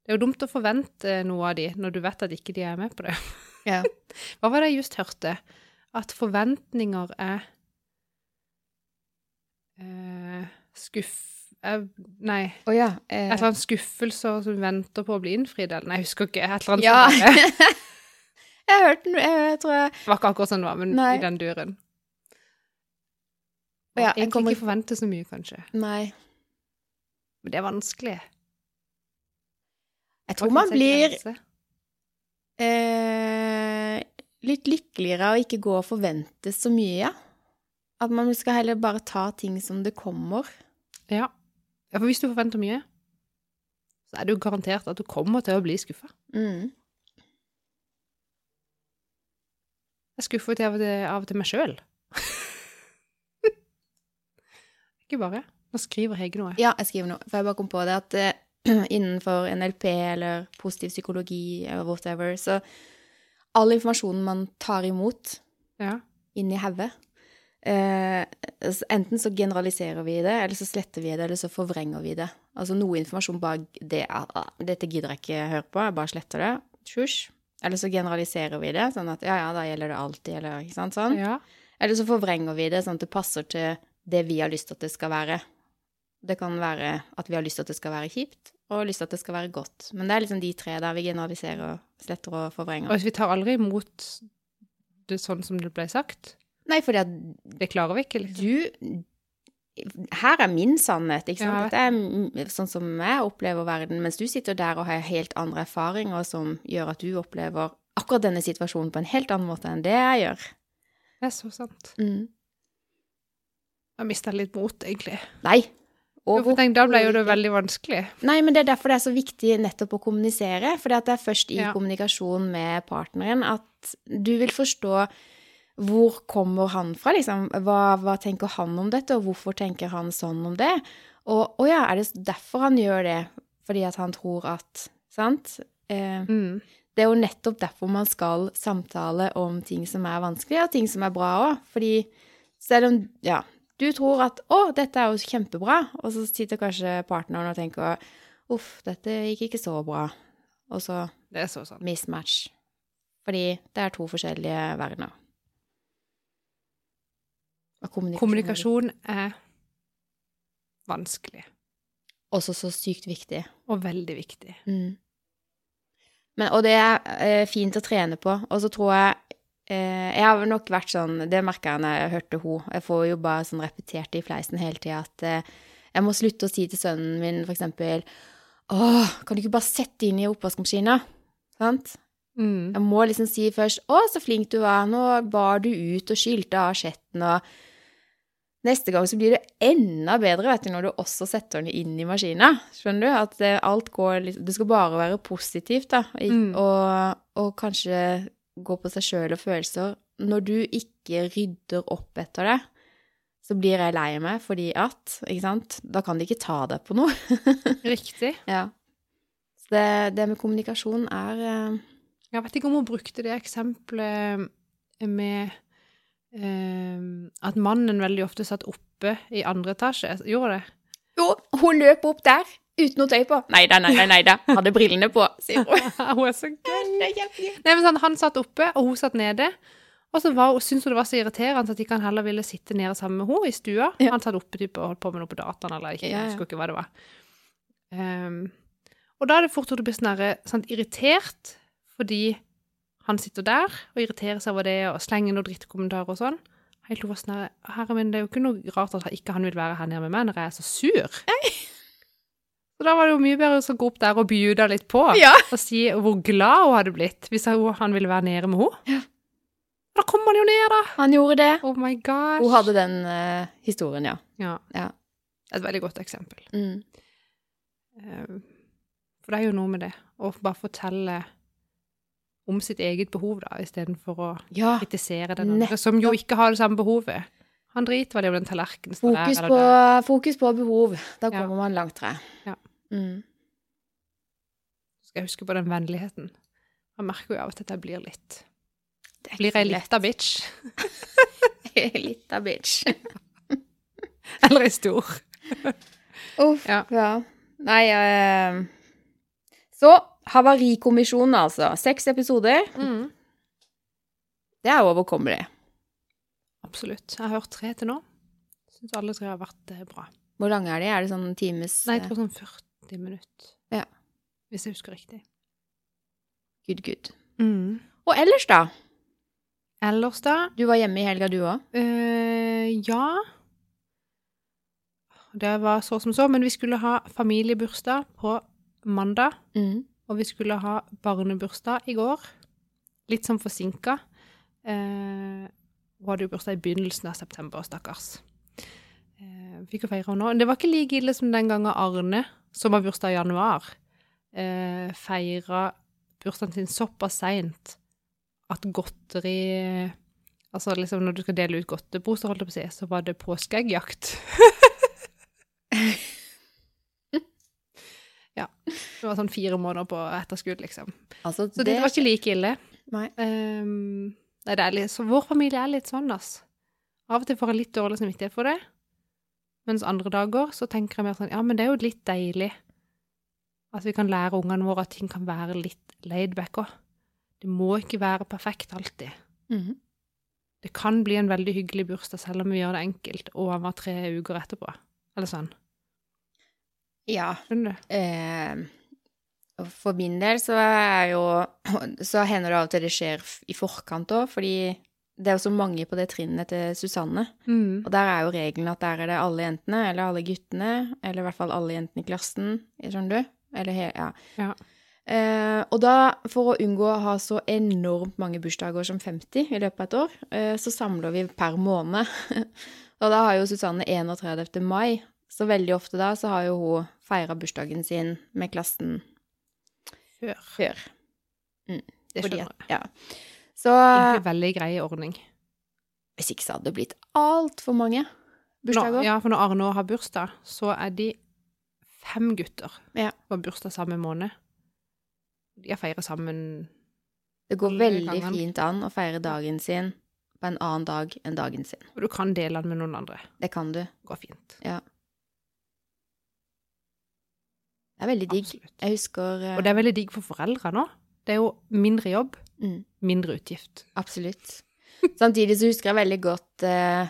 [SPEAKER 1] Det er jo dumt å forvente eh, noe av de når du vet at ikke de er med på det.
[SPEAKER 2] Ja.
[SPEAKER 1] Hva var det jeg just hørte? At forventninger er eh, skuff... eh, nei, et
[SPEAKER 2] Å ja. eh,
[SPEAKER 1] eller annet skuffelser som venter på å bli innfridd, eller Nei, jeg husker ikke. Et eller annet
[SPEAKER 2] ja.
[SPEAKER 1] sånt der.
[SPEAKER 2] jeg hørte den, jeg, jeg tror jeg
[SPEAKER 1] Det var ikke akkurat sånn det var, men
[SPEAKER 2] Nei.
[SPEAKER 1] i den duren.
[SPEAKER 2] Å ja, jeg
[SPEAKER 1] Egentlig
[SPEAKER 2] kommer-
[SPEAKER 1] ikke forvente så mye, kanskje.
[SPEAKER 2] Nei.
[SPEAKER 1] Men det er vanskelig. Å
[SPEAKER 2] Jeg tror man
[SPEAKER 1] kunne
[SPEAKER 2] blir
[SPEAKER 1] sette grenser.
[SPEAKER 2] eh, litt lykkeligere av å ikke gå og forvente så mye, ja. At man skal heller bare ta ting som det kommer.
[SPEAKER 1] Ja. ja, for hvis du forventer mye, så er det jo garantert at du kommer til å bli skuffa.
[SPEAKER 2] Mm.
[SPEAKER 1] Jeg skuffer jo av, og til- av og til meg sjøl. Ikke bare. Nå skriver Hege noe.
[SPEAKER 2] Ja, jeg skriver noe. For jeg bare kom på det at eh, innenfor NLP eller positiv psykologi eller whatever, så all informasjonen man tar imot
[SPEAKER 1] Ja.
[SPEAKER 2] inni hodet eh, så Enten så generaliserer vi det, eller så sletter vi det, eller så forvrenger vi det. Altså noe informasjon bare det, er- ah, 'Dette gidder jeg ikke høre på, jeg bare sletter det.' Tjusj. Eller så generaliserer vi det, sånn at 'ja, ja, da gjelder det alltid', eller ikke sant sånn.
[SPEAKER 1] ja.
[SPEAKER 2] Eller så forvrenger vi det sånn at det passer til det vi har lyst til at det skal være. Det kan være at vi har lyst til at det skal være kjipt, og lyst til at det skal være godt. Men det er liksom de tre der vi generaliserer, sletter og
[SPEAKER 1] Og
[SPEAKER 2] forvrenger.
[SPEAKER 1] hvis vi tar aldri imot det sånn som det ble sagt,
[SPEAKER 2] Nei, fordi at
[SPEAKER 1] det klarer vi ikke. Liksom.
[SPEAKER 2] du Her er min sannhet, ikke sant?
[SPEAKER 1] Ja, jeg vet
[SPEAKER 2] Dette er m- sånn som jeg opplever verden, mens du sitter der og har helt andre erfaringer som gjør at du opplever akkurat denne situasjonen på en helt annen måte enn det jeg gjør.
[SPEAKER 1] Det er så sant.
[SPEAKER 2] Mm.
[SPEAKER 1] Jeg mista litt mot, egentlig.
[SPEAKER 2] Nei.
[SPEAKER 1] Jo, for tenk, da ble jo det
[SPEAKER 2] overhodet ikke.
[SPEAKER 1] veldig vanskelig.
[SPEAKER 2] Nei, men det er derfor det er så viktig nettopp å kommunisere. For det er først i
[SPEAKER 1] Ja.
[SPEAKER 2] kommunikasjon med partneren at du vil forstå hvor kommer han fra, liksom. Hva, hva tenker han om dette, og hvorfor tenker han sånn om det? Og å ja, er det derfor han gjør det? Fordi at han tror at Sant? Eh,
[SPEAKER 1] Mm.
[SPEAKER 2] det er jo nettopp derfor man skal samtale om ting som er vanskelig, og ting som er bra òg. Fordi selv om ja, du tror at 'å, dette er jo kjempebra', og så sitter kanskje partneren og tenker 'uff, dette gikk ikke så bra', og så
[SPEAKER 1] Det er så sant.
[SPEAKER 2] mismatch. Fordi det er to forskjellige verdener. Og kommunikasjon,
[SPEAKER 1] Kommunikasjon er vanskelig,
[SPEAKER 2] er også så sykt viktig.
[SPEAKER 1] og veldig viktig.
[SPEAKER 2] Mm. Men, og det er eh, fint å trene på. Og så tror jeg eh, Jeg har nok vært sånn Det merker jeg når jeg hørte hun. Jeg får jo bare sånn repetert det i fleisen hele tida at eh, jeg må slutte å si til sønnen min for eksempel Åh, kan du ikke bare sette inn i oppvaskmaskina? Sant?
[SPEAKER 1] Mm.
[SPEAKER 2] Jeg må liksom si først Å, så flink du var. Nå bar du ut og skylte av asjetten og Neste gang så blir det enda bedre vet du, når du også setter den inn i maskina. Skjønner du? At eh, alt går liksom Det skal bare være positivt, da. I,
[SPEAKER 1] Mm.
[SPEAKER 2] og, og kanskje gå på seg sjøl og følelser. Når du ikke rydder opp etter det, så blir jeg lei meg fordi at Ikke sant? Da kan de ikke ta deg på noe.
[SPEAKER 1] Riktig.
[SPEAKER 2] Ja. Så det, det med kommunikasjon er eh,
[SPEAKER 1] Jeg vet ikke om hun brukte det eksempelet med eh, at mannen veldig ofte satt oppe i andre etasje. Gjorde det?
[SPEAKER 2] Jo, hun løp opp der uten noe tøy på. Nei da, nei da, nei da. Hadde brillene på, sier hun.
[SPEAKER 1] hun er så gøy.
[SPEAKER 2] Det er kjempegøy.
[SPEAKER 1] Nei, men sånn, han satt oppe, og hun satt nede. Og så var- syntes hun det var så irriterende at ikke han heller ville sitte nede sammen med henne i stua.
[SPEAKER 2] Ja.
[SPEAKER 1] Han satt oppe typ, og holdt på med noe på dataen, eller ikke,
[SPEAKER 2] Ja, ja.
[SPEAKER 1] jeg husker ikke hva det var. Ehm, og da er det fort gjort å bli sånn der, sant, irritert, fordi han sitter der og irriterer seg over det, og slenger noen drittkommentarer og sånn. Helt til hun var sånn der, herre min, det er jo ikke noe rart at ikke han vil være her nede med meg når jeg er så sur. Så da var det jo mye bedre å gå opp der og bjuda litt på
[SPEAKER 2] Ja.
[SPEAKER 1] og si hvor glad hun hadde blitt hvis hun- han ville være nede med henne. Da kommer han jo ned, da!
[SPEAKER 2] Han gjorde det.
[SPEAKER 1] Oh my gosh.
[SPEAKER 2] Hun hadde den eh, historien, ja.
[SPEAKER 1] ja.
[SPEAKER 2] Ja.
[SPEAKER 1] Et veldig godt eksempel.
[SPEAKER 2] Mm.
[SPEAKER 1] Eh, For det er jo noe med det, å bare fortelle om sitt eget behov, da, istedenfor å
[SPEAKER 2] Ja.
[SPEAKER 1] kritisere den andre, som jo ikke har det samme behovet. Han driter vel i om den tallerkenen står
[SPEAKER 2] Fokus
[SPEAKER 1] der
[SPEAKER 2] på,
[SPEAKER 1] eller der.
[SPEAKER 2] fokus på behov. Da
[SPEAKER 1] Ja.
[SPEAKER 2] kommer man langt, tror jeg.
[SPEAKER 1] Ja.
[SPEAKER 2] Mm.
[SPEAKER 1] Skal jeg huske på den vennligheten? Jeg merker jo av og til at jeg blir litt
[SPEAKER 2] Det er
[SPEAKER 1] Blir
[SPEAKER 2] ikke
[SPEAKER 1] jeg
[SPEAKER 2] lett.
[SPEAKER 1] lita bitch?
[SPEAKER 2] Litt av bitch.
[SPEAKER 1] Eller ei stor?
[SPEAKER 2] Uff, ja.
[SPEAKER 1] Ja.
[SPEAKER 2] Nei, eh, Så, Havarikommisjonen, altså. Seks episoder.
[SPEAKER 1] Mm.
[SPEAKER 2] Det er overkommelig.
[SPEAKER 1] Absolutt. Jeg har hørt tre til nå. Syns alle tre har vært eh, bra.
[SPEAKER 2] Hvor lange er de? Er det sånn times
[SPEAKER 1] Nei, jeg tror sånn 40 minutter.
[SPEAKER 2] Ja.
[SPEAKER 1] Hvis jeg husker riktig.
[SPEAKER 2] eh, Good, good. Og ellers, da?
[SPEAKER 1] Ellers, da?
[SPEAKER 2] Du var hjemme i helga, du òg?
[SPEAKER 1] eh, ja. Det var så som så, men vi skulle ha familiebursdag på mandag.
[SPEAKER 2] Mm.
[SPEAKER 1] Og vi skulle ha barnebursdag i går. Litt sånn forsinka. Eh, hun hadde jo bursdag i begynnelsen av september, stakkars. Eh, fikk jo feire henne nå. Det var ikke like ille som den gangen Arne, som har bursdag i januar, eh, feira bursdagen sin såpass seint at godteri Altså liksom når du skal dele ut godteposer, holdt jeg på å si, så var det påskeeggjakt. Det var sånn fire måneder på etterskudd, liksom.
[SPEAKER 2] Altså,
[SPEAKER 1] Så det, var ikke like ille.
[SPEAKER 2] Nei.
[SPEAKER 1] Ehm, nei, det er litt, så vår familie er litt sånn, ass. Av og til får jeg litt dårlig samvittighet for det. Mens andre dager så tenker jeg mer sånn, ja, men det er jo litt deilig at vi kan lære ungene våre at ting kan være litt laid back òg. Det må ikke være perfekt alltid.
[SPEAKER 2] Mhm.
[SPEAKER 1] Det kan bli en veldig hyggelig bursdag selv om vi gjør det enkelt, og han var tre uker etterpå. Eller sånn.
[SPEAKER 2] Ja.
[SPEAKER 1] Skjønner du?
[SPEAKER 2] Eh, og for min del så er jo Så hender det av og til det skjer f- i forkant òg, fordi det er jo så mange på det trinnet til Susanne.
[SPEAKER 1] Mm.
[SPEAKER 2] Og der er jo regelen at der er det alle jentene, eller alle guttene, eller i hvert fall alle jentene i klassen, skjønner du? Eller he ja.
[SPEAKER 1] Ja.
[SPEAKER 2] Eh, og da, for å unngå å ha så enormt mange bursdager som 50 i løpet av et år, eh, så samler vi per måned. og da har jo Susanne 31. mai, så veldig ofte da så har jo hun feira bursdagen sin med klassen
[SPEAKER 1] Før.
[SPEAKER 2] før. Mm,
[SPEAKER 1] Det
[SPEAKER 2] fordi
[SPEAKER 1] skjønner jeg.
[SPEAKER 2] at- Ja. Så
[SPEAKER 1] Egentlig veldig grei ordning.
[SPEAKER 2] hvis ikke så hadde det blitt altfor mange bursdager.
[SPEAKER 1] Nå, ja, for når Arne også har bursdag, så er de fem gutter
[SPEAKER 2] Ja.
[SPEAKER 1] på bursdag samme måned. De har feiret sammen
[SPEAKER 2] Det går
[SPEAKER 1] Alle
[SPEAKER 2] veldig
[SPEAKER 1] gangene. fint
[SPEAKER 2] fint an å feire dagen sin på en annen dag enn dagen sin.
[SPEAKER 1] Og du kan dele den med noen andre.
[SPEAKER 2] Det kan du.
[SPEAKER 1] Det går fint.
[SPEAKER 2] Det er veldig digg.
[SPEAKER 1] Absolutt.
[SPEAKER 2] Jeg husker eh,
[SPEAKER 1] Og det er veldig digg for foreldre nå. Det er jo mindre jobb,
[SPEAKER 2] Mm.
[SPEAKER 1] mindre utgift.
[SPEAKER 2] Absolutt. Samtidig så husker jeg veldig godt eh,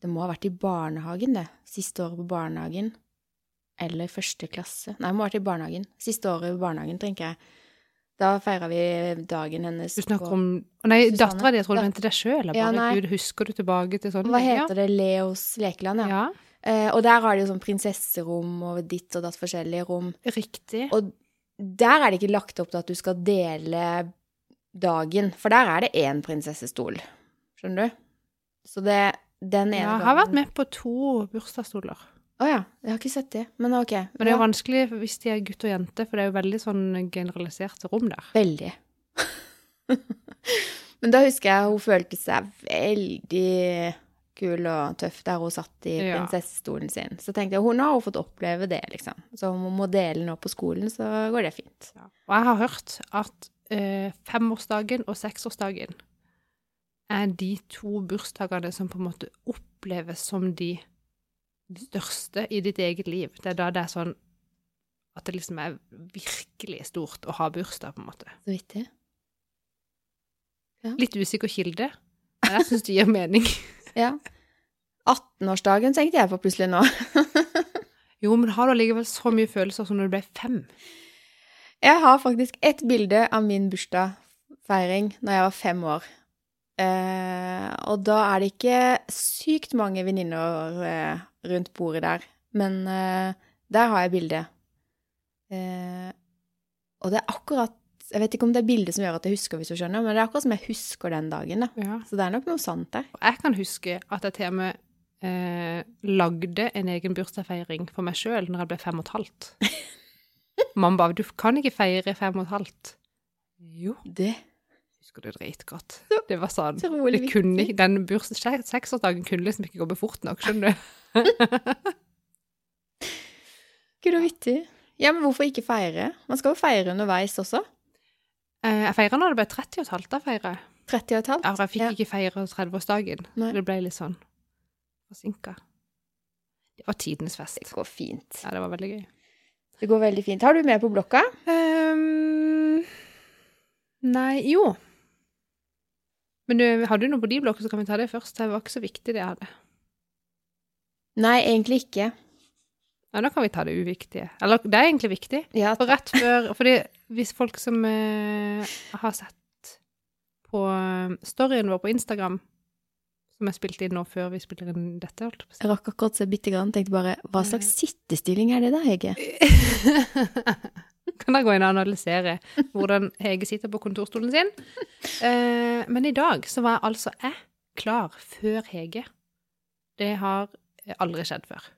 [SPEAKER 2] Det må ha vært i barnehagen, det. Siste året på barnehagen. Eller første klasse. Nei, det må ha vært i barnehagen. Siste året på barnehagen, tenker jeg. Da feira vi dagen hennes
[SPEAKER 1] Du snakker
[SPEAKER 2] på
[SPEAKER 1] om Å nei,
[SPEAKER 2] Susanne.
[SPEAKER 1] dattera di, jeg tror du
[SPEAKER 2] Dat-
[SPEAKER 1] mente deg sjøl.
[SPEAKER 2] sånn, Ja, nei.
[SPEAKER 1] Gud, husker du tilbake til sånn?
[SPEAKER 2] Hva heter det? Leos lekeland,
[SPEAKER 1] Ja.
[SPEAKER 2] ja. Eh, og der har de jo sånn prinsesserom og ditt og datt forskjellige rom.
[SPEAKER 1] Riktig.
[SPEAKER 2] Og der er det ikke lagt opp til at du skal dele dagen, for der er det én prinsessestol. Skjønner du? Så det den ene
[SPEAKER 1] Ja, jeg har vært med på to bursdagsstoler.
[SPEAKER 2] Å ja. Jeg har ikke sett det. Men ok.
[SPEAKER 1] Men det er jo
[SPEAKER 2] ja,
[SPEAKER 1] vanskelig hvis de er gutt og jente, for det er jo veldig sånn generaliserte rom der.
[SPEAKER 2] Veldig. Men da husker jeg hun følte seg veldig kul og tøff der hun satt i
[SPEAKER 1] Ja.
[SPEAKER 2] prinsessestolen sin. Så tenkte jeg hun har jo fått oppleve det, liksom. Så om hun må dele nå på skolen, så går det fint.
[SPEAKER 1] Og jeg har hørt at eh, femårsdagen og seksårsdagen er de to bursdagene som på en måte oppleves som de største i ditt eget liv. Det er da det er sånn at det liksom er virkelig stort å ha bursdag, på en måte.
[SPEAKER 2] Så vidt det.
[SPEAKER 1] Litt usikker kilde. Eh, jeg syns det gir mening.
[SPEAKER 2] Ja. 18-årsdagen tenkte jeg på plutselig nå.
[SPEAKER 1] Jo, men har du allikevel så mye følelser som når du ble fem?
[SPEAKER 2] Jeg har faktisk et bilde av min bursdagsfeiring når jeg var fem år. Eh, og da er det ikke sykt mange venninner eh, rundt bordet der, men eh, der har jeg bildet. Eh, og det er akkurat Jeg vet ikke om det er bildet som gjør at jeg husker, hvis du skjønner, men det er akkurat som jeg husker den dagen. da.
[SPEAKER 1] Ja.
[SPEAKER 2] Så det er nok noe sant der.
[SPEAKER 1] Og jeg kan huske at jeg til og med eh, lagde en egen bursdagsfeiring for meg sjøl når jeg ble fem og et halvt. Mamma bare 'Du kan ikke feire fem og et halvt'. Jo,
[SPEAKER 2] Det
[SPEAKER 1] husker du dritgodt. Det var sånn.
[SPEAKER 2] Utrolig
[SPEAKER 1] Det kunne
[SPEAKER 2] viktig.
[SPEAKER 1] ikke, den burs- se- seksårsdagen kunne liksom ikke gå med fort nok, skjønner du.
[SPEAKER 2] Gud og vittig. Ja, men hvorfor ikke feire? Man skal jo feire underveis også.
[SPEAKER 1] Eh, Jeg feira når det ble 30 og et halvt. Da feira jeg.
[SPEAKER 2] 30 og et halvt.
[SPEAKER 1] Ja, for Jeg fikk
[SPEAKER 2] Ja.
[SPEAKER 1] ikke feire 30-årsdagen.
[SPEAKER 2] Nei.
[SPEAKER 1] Det ble litt sånn forsinka. Det var tidenes
[SPEAKER 2] Det
[SPEAKER 1] fest.
[SPEAKER 2] går fint.
[SPEAKER 1] Ja, det var veldig gøy.
[SPEAKER 2] Det går veldig fint. Har du med på blokka?
[SPEAKER 1] Ehm, nei, jo. Men du, har du noe på de blokker, så kan vi ta det først. Det var ikke så viktig, det jeg hadde.
[SPEAKER 2] Nei, egentlig ikke.
[SPEAKER 1] Ja, nå kan vi ta det uviktige. Eller, det er egentlig viktig.
[SPEAKER 2] Ja,
[SPEAKER 1] Og rett før Fordi hvis folk som eh, har sett på eh, storyen vår på Instagram, som jeg spilte inn nå før vi spiller inn dette, holdt jeg på å si.
[SPEAKER 2] Jeg rakk akkurat se bitte grann. Tenkte bare hva slags sittestilling er det da, Hege?
[SPEAKER 1] kan dere gå inn og analysere hvordan Hege sitter på kontorstolen sin. Eh, men i dag så var altså jeg klar før Hege. Det har aldri skjedd før.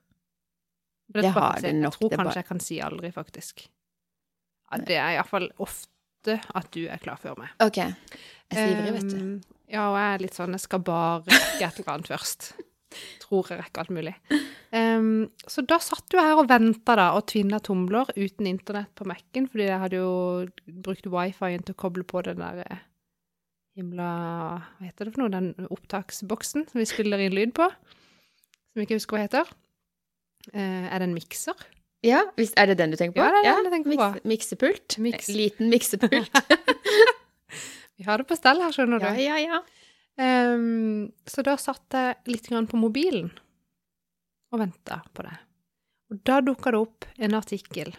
[SPEAKER 1] Og
[SPEAKER 2] Det
[SPEAKER 1] tror jeg
[SPEAKER 2] har
[SPEAKER 1] faktisk-
[SPEAKER 2] det nok,
[SPEAKER 1] Jeg tror
[SPEAKER 2] det er
[SPEAKER 1] kanskje
[SPEAKER 2] bare-
[SPEAKER 1] jeg kan si aldri, faktisk. Ja, det er iallfall ofte at du er klar før meg.
[SPEAKER 2] Ok. Ehm, Jeg er så ivrig, vet du.
[SPEAKER 1] Um, Ja, og jeg er litt sånn Jeg skal bare rekke et eller annet først. Tror jeg rekker alt mulig. Um, så da satt du her og venta, da, og tvinna tomler uten internett på Mac-en, fordi jeg hadde jo brukt wifi-en til å koble på den der eh, himla Hva heter det for noe? Den opptaksboksen som vi spiller inn lyd på, som jeg ikke husker hva heter. Eh, er det en mikser?
[SPEAKER 2] Ja, hvis, er det den du tenker på?
[SPEAKER 1] Ja, det er den jeg tenker på.
[SPEAKER 2] miks- miksepult.
[SPEAKER 1] Miks.
[SPEAKER 2] Eh, Liten miksepult.
[SPEAKER 1] Vi har det på stell her, skjønner du.
[SPEAKER 2] ja, ja, ja.
[SPEAKER 1] Ehm, så da satt jeg litt grann på mobilen og venta på det. Og da dukka det opp en artikkel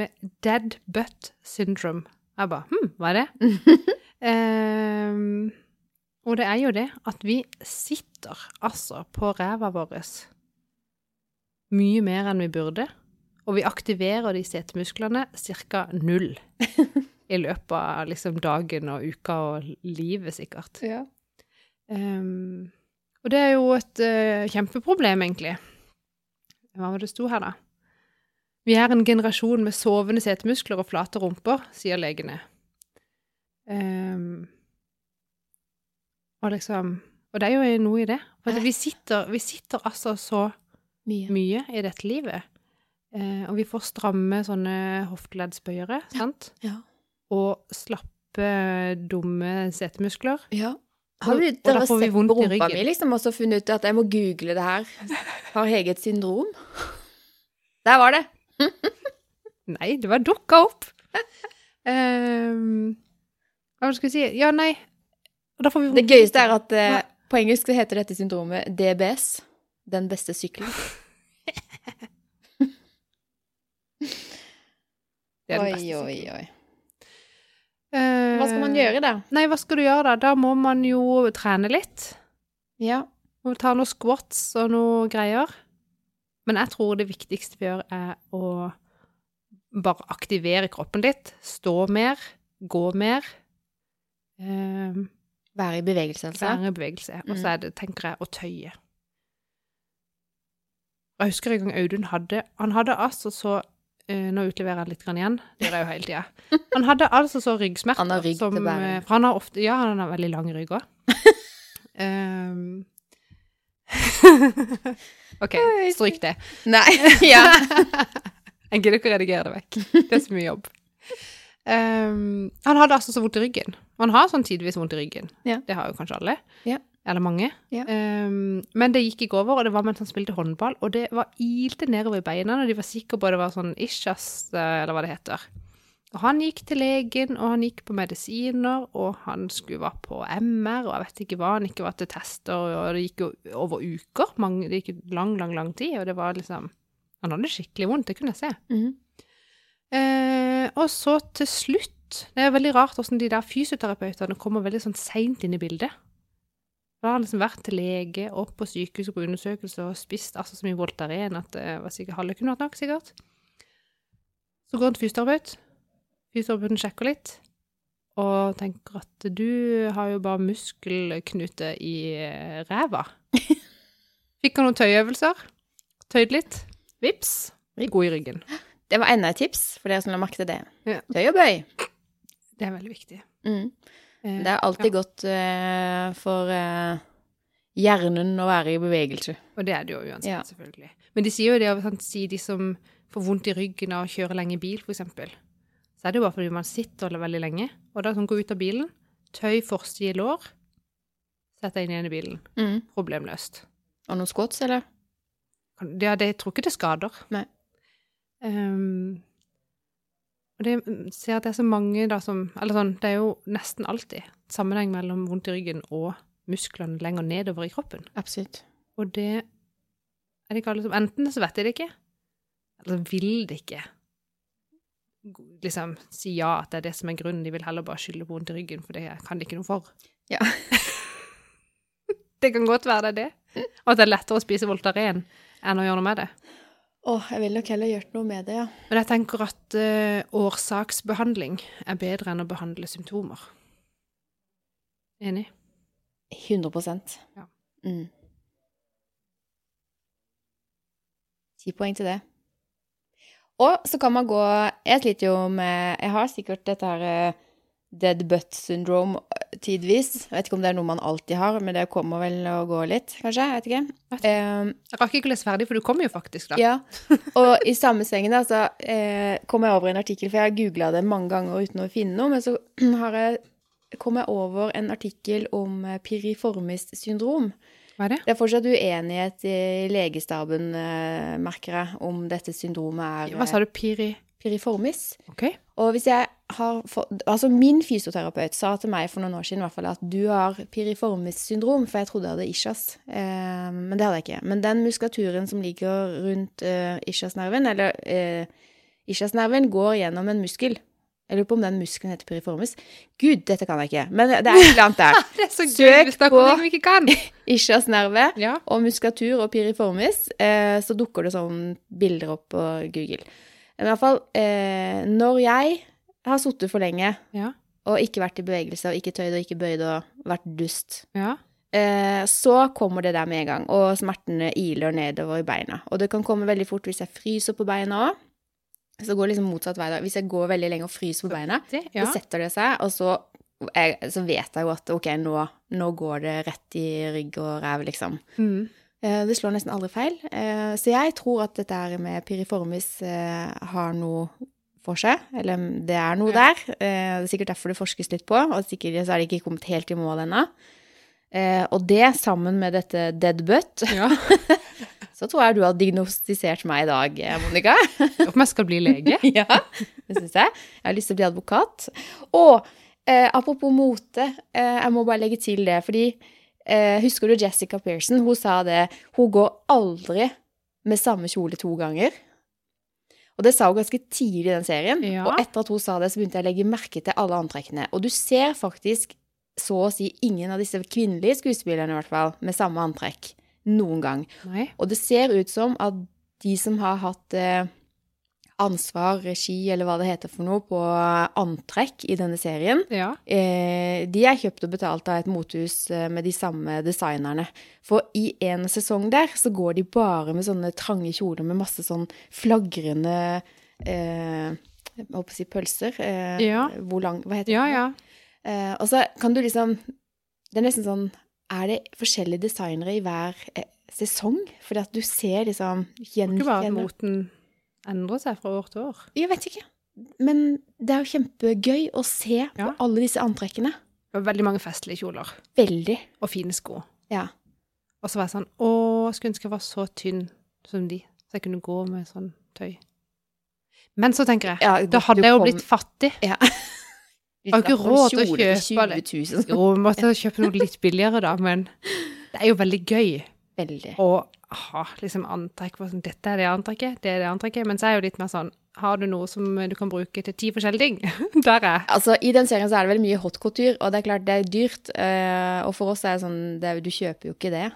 [SPEAKER 1] med dead butt syndrome. Jeg bare Hm, hva er det? Ehm, og det er jo det at vi sitter altså på ræva vår mye mer enn vi burde, og vi aktiverer de setemusklene ca. null i løpet av liksom dagen og uka og livet, sikkert.
[SPEAKER 2] ja.
[SPEAKER 1] Ehm, og det er jo et eh, kjempeproblem, egentlig. Hva var det sto her, da? Vi er en generasjon med sovende setemuskler og flate rumper, sier legene. Ehm, og liksom Og det er jo noe i det. For at vi sitter, vi sitter altså så
[SPEAKER 2] Mye.
[SPEAKER 1] mye i dette livet. Eh, og vi får stramme sånne hofteleddsbøyere, sant?
[SPEAKER 2] ja.
[SPEAKER 1] Og slappe, dumme setemuskler.
[SPEAKER 2] Ja. Har du
[SPEAKER 1] Og- og da
[SPEAKER 2] dere
[SPEAKER 1] får vi
[SPEAKER 2] sett på
[SPEAKER 1] vondt i
[SPEAKER 2] rumpa
[SPEAKER 1] ryggen.
[SPEAKER 2] mi liksom, og så funnet ut at jeg må google det her? Har Hege et syndrom? Der var det.
[SPEAKER 1] Nei, det var dukka opp! Ehm, hva skal vi si? Ja, nei Og da får vi
[SPEAKER 2] Det gøyeste er at eh, på engelsk så heter dette syndromet DBS. Den beste sykkelen.
[SPEAKER 1] Det er den beste sykkelen.
[SPEAKER 2] oi.
[SPEAKER 1] Ehm,
[SPEAKER 2] Hva skal man gjøre da?
[SPEAKER 1] Nei, hva skal du gjøre da? Da må man jo trene litt.
[SPEAKER 2] Eh, Ja.
[SPEAKER 1] Må ta noen squats og noe greier. Men jeg tror det viktigste vi gjør, er å bare aktivere kroppen litt. Stå mer, gå mer. Eh,
[SPEAKER 2] Være i bevegelse, altså.
[SPEAKER 1] være i bevegelse. Og så er det, tenker jeg, å tøye. Og Jeg husker en gang Audun hadde Han hadde altså så eh, Nå utleverer jeg litt grann igjen. Det gjør jeg jo hele tida. Han hadde altså så ryggsmerter
[SPEAKER 2] Han har rygg til
[SPEAKER 1] som,
[SPEAKER 2] bæren.
[SPEAKER 1] eh, For han har ofte Ja, han har veldig lang rygg òg. OK, stryk det.
[SPEAKER 2] Nei. ja.
[SPEAKER 1] Jeg gidder ikke å redigere det vekk. Det er så mye jobb. Ehm, han hadde altså så vondt i ryggen. Og han har sånn tidvis vondt i ryggen.
[SPEAKER 2] Ja.
[SPEAKER 1] Det har jo kanskje alle.
[SPEAKER 2] Ja.
[SPEAKER 1] Eller mange.
[SPEAKER 2] Ja.
[SPEAKER 1] Ehm, men det gikk ikke over, og det var mens han spilte håndball, og det var ilte nedover i beina, og de var sikre på det var sånn ischias, eh, eller hva det heter. Og han gikk til legen, og han gikk på medisiner, og han skulle være på MR, og jeg vet ikke hva, han ikke var til tester, og det gikk jo over uker, mange, det gikk lang, lang, lang tid, og det var liksom, han hadde skikkelig vondt, det kunne jeg se.
[SPEAKER 2] Mhm.
[SPEAKER 1] Eh, og så til slutt, det er veldig rart hvordan de der fysioterapeutene kommer veldig sånn sent inn i bildet. Da har han liksom vært til lege, opp på sykehuset på undersøkelse og spist altså så mye Voltaren at det var sikkert halve kunne vært nok, sikkert. Så går han til fysioterapeut. Fysioterapeuten sjekker litt og tenker at du har jo bare muskelknute i eh, ræva. Fikk han noen tøyøvelser. Tøyd litt. Vips. God i ryggen.
[SPEAKER 2] Det var enda et tips for dere som la merke til det.
[SPEAKER 1] Ja.
[SPEAKER 2] Tøy og bøy.
[SPEAKER 1] Det er veldig viktig.
[SPEAKER 2] Mm.
[SPEAKER 1] Eh,
[SPEAKER 2] Det er alltid godt eh, for eh, hjernen å være i bevegelse.
[SPEAKER 1] Og det er det jo uansett,
[SPEAKER 2] Ja.
[SPEAKER 1] selvfølgelig. Men de sier jo det av sant, sier de som får vondt i ryggen av å kjøre lenge i bil, f.eks. Så er det jo bare fordi man sitter eller veldig lenge. Og da sånn, gå ut av bilen, tøy forside lår, sett deg inn igjen i bilen.
[SPEAKER 2] Mm.
[SPEAKER 1] Problemløst.
[SPEAKER 2] Og noen squats, eller?
[SPEAKER 1] Kan- Ja, det, jeg tror ikke det skader.
[SPEAKER 2] Nei.
[SPEAKER 1] Ehm, og det jeg ser at det er så mange da som Eller sånn, det er jo nesten alltid sammenheng mellom vondt i ryggen og musklene lenger nedover i kroppen.
[SPEAKER 2] Absolutt.
[SPEAKER 1] Og det er det ikke alle som Enten så vet de det ikke, eller så vil de ikke Go- liksom si ja at det er det som er grunnen. De vil heller bare skylde på vondt i ryggen, for det kan de ikke noe for.
[SPEAKER 2] Ja.
[SPEAKER 1] det kan godt være det er det. Og at det er lettere å spise Voltaren enn å gjøre noe med det.
[SPEAKER 2] Å, jeg ville nok heller gjort noe med det, ja.
[SPEAKER 1] Men jeg tenker at eh, årsaksbehandling er bedre enn å behandle symptomer. Enig?
[SPEAKER 2] 100
[SPEAKER 1] Ja.
[SPEAKER 2] Mm. Ti poeng til det. Og så kan man gå Jeg sliter jo med Jeg har sikkert dette her eh, dead butt syndrome eh, tidvis. Jeg vet ikke om det er noe man alltid har, men det kommer vel og går litt, kanskje. Jeg vet ikke.
[SPEAKER 1] Vet
[SPEAKER 2] Eh,
[SPEAKER 1] Jeg rakk ikke å lese ferdig, for du kom jo faktisk, da.
[SPEAKER 2] ja. Og i samme slengen da, så eh, kom jeg over en artikkel, for jeg har googla det mange ganger uten å finne noe, men så har jeg, kom jeg over en artikkel om eh, piriformist syndrom.
[SPEAKER 1] Hva er det?
[SPEAKER 2] Det er fortsatt uenighet i legestaben, eh, merker jeg, om dette syndromet er
[SPEAKER 1] Hva sa du, Piri?
[SPEAKER 2] eh, piriformis.
[SPEAKER 1] OK.
[SPEAKER 2] Og hvis jeg har fått Altså, min fysioterapeut sa til meg for noen år siden i hvert fall at du har piriformis syndrom, for jeg trodde jeg hadde ischias. Eh, men det hadde jeg ikke. Men den muskulaturen som ligger rundt eh, ischiasnerven, eller eh, ischiasnerven, går gjennom en muskel. Jeg lurer på om den muskelen heter piriformis. Gud, dette kan jeg ikke. Men det er et eller annet der.
[SPEAKER 1] Det er så
[SPEAKER 2] Søk
[SPEAKER 1] gøy hvis dere
[SPEAKER 2] på-
[SPEAKER 1] liksom ikke kan!
[SPEAKER 2] Ischiasnerve.
[SPEAKER 1] Ja.
[SPEAKER 2] og muskatur og piriformis, eh, så dukker det sånn bilder opp på Google. Men i hvert fall, eh, når jeg har sittet for lenge
[SPEAKER 1] Ja.
[SPEAKER 2] og ikke vært i bevegelse, og ikke tøyd og ikke bøyd og vært dust,
[SPEAKER 1] Ja.
[SPEAKER 2] eh, så kommer det der med en gang, og smertene iler nedover i beina. Og det kan komme veldig fort hvis jeg fryser på beina òg. Så går det liksom motsatt vei. da. Hvis jeg går veldig lenge og fryser på beina,
[SPEAKER 1] Det,
[SPEAKER 2] så
[SPEAKER 1] ja.
[SPEAKER 2] setter det seg, og så, jeg, så vet jeg jo at ok, nå, nå går det rett i rygg og ræv, liksom.
[SPEAKER 1] Mm.
[SPEAKER 2] Eh, Det slår nesten aldri feil. Eh, Så jeg tror at dette her med piriformis eh, har noe for seg. Eller det er noe
[SPEAKER 1] Ja.
[SPEAKER 2] der. Eh, Det er sikkert derfor det forskes litt på, og sikkert så er det ikke kommet helt i mål ennå. Eh, Og det, sammen med dette dead butt,
[SPEAKER 1] ja.
[SPEAKER 2] så tror jeg du har diagnostisert meg i dag, eh, Monica.
[SPEAKER 1] Håper jeg skal bli lege.
[SPEAKER 2] Ja, det syns jeg. Jeg har lyst til å bli advokat. Og eh, apropos mote, eh, jeg må bare legge til det, fordi eh, Husker du Jessica Pearson? Hun sa det. Hun går aldri med samme kjole to ganger. Og det sa hun ganske tidlig i den serien.
[SPEAKER 1] Ja.
[SPEAKER 2] Og etter at hun sa det, så begynte jeg å legge merke til alle antrekkene. Og du ser faktisk så å si ingen av disse kvinnelige skuespillerne, i hvert fall, med samme antrekk noen gang.
[SPEAKER 1] Nei.
[SPEAKER 2] Og det ser ut som at de som har hatt eh, ansvar, regi eller hva det heter for noe, på eh, antrekk i denne serien,
[SPEAKER 1] Ja.
[SPEAKER 2] eh, de er kjøpt og betalt av et motehus eh, med de samme designerne. For i en sesong der så går de bare med sånne trange kjoler med masse sånn flagrende eh, jeg holdt på å si pølser. Eh,
[SPEAKER 1] Ja.
[SPEAKER 2] Hvor lang Hva heter
[SPEAKER 1] Ja,
[SPEAKER 2] det?
[SPEAKER 1] ja.
[SPEAKER 2] Eh, og så kan du liksom Det er nesten sånn Er det forskjellige designere i hver eh, sesong? Fordi at du ser liksom
[SPEAKER 1] Ikke bare at
[SPEAKER 2] gjenkjenner
[SPEAKER 1] moten endrer seg fra år til år.
[SPEAKER 2] Jeg vet ikke. Men det er jo kjempegøy å se på
[SPEAKER 1] Ja.
[SPEAKER 2] alle disse antrekkene.
[SPEAKER 1] Det var veldig mange festlige kjoler
[SPEAKER 2] Veldig.
[SPEAKER 1] og fine sko.
[SPEAKER 2] Ja.
[SPEAKER 1] Og så var jeg sånn Å, jeg skulle ønske jeg var så tynn som de, så jeg kunne gå med sånn tøy. Men så tenker jeg,
[SPEAKER 2] Ja,
[SPEAKER 1] da hadde
[SPEAKER 2] du
[SPEAKER 1] jeg jo
[SPEAKER 2] kom-
[SPEAKER 1] blitt fattig.
[SPEAKER 2] Vi
[SPEAKER 1] har jo ikke
[SPEAKER 2] snakker om
[SPEAKER 1] råd til å
[SPEAKER 2] kjole
[SPEAKER 1] kjøpe det.
[SPEAKER 2] 20 000.
[SPEAKER 1] Jo, vi måtte kjøpe noe litt billigere da, men det er jo veldig gøy
[SPEAKER 2] Veldig.
[SPEAKER 1] å ha liksom antrekk på sånn, dette er det antrekket, det er det antrekket, men så er jeg jo litt mer sånn, har du noe som du kan bruke til ti forskjellige ting? Der er jeg.
[SPEAKER 2] Altså, I den serien så er det vel mye hot couture, og det er klart det er dyrt. eh, og for oss er det sånn det, er- Du kjøper jo ikke det.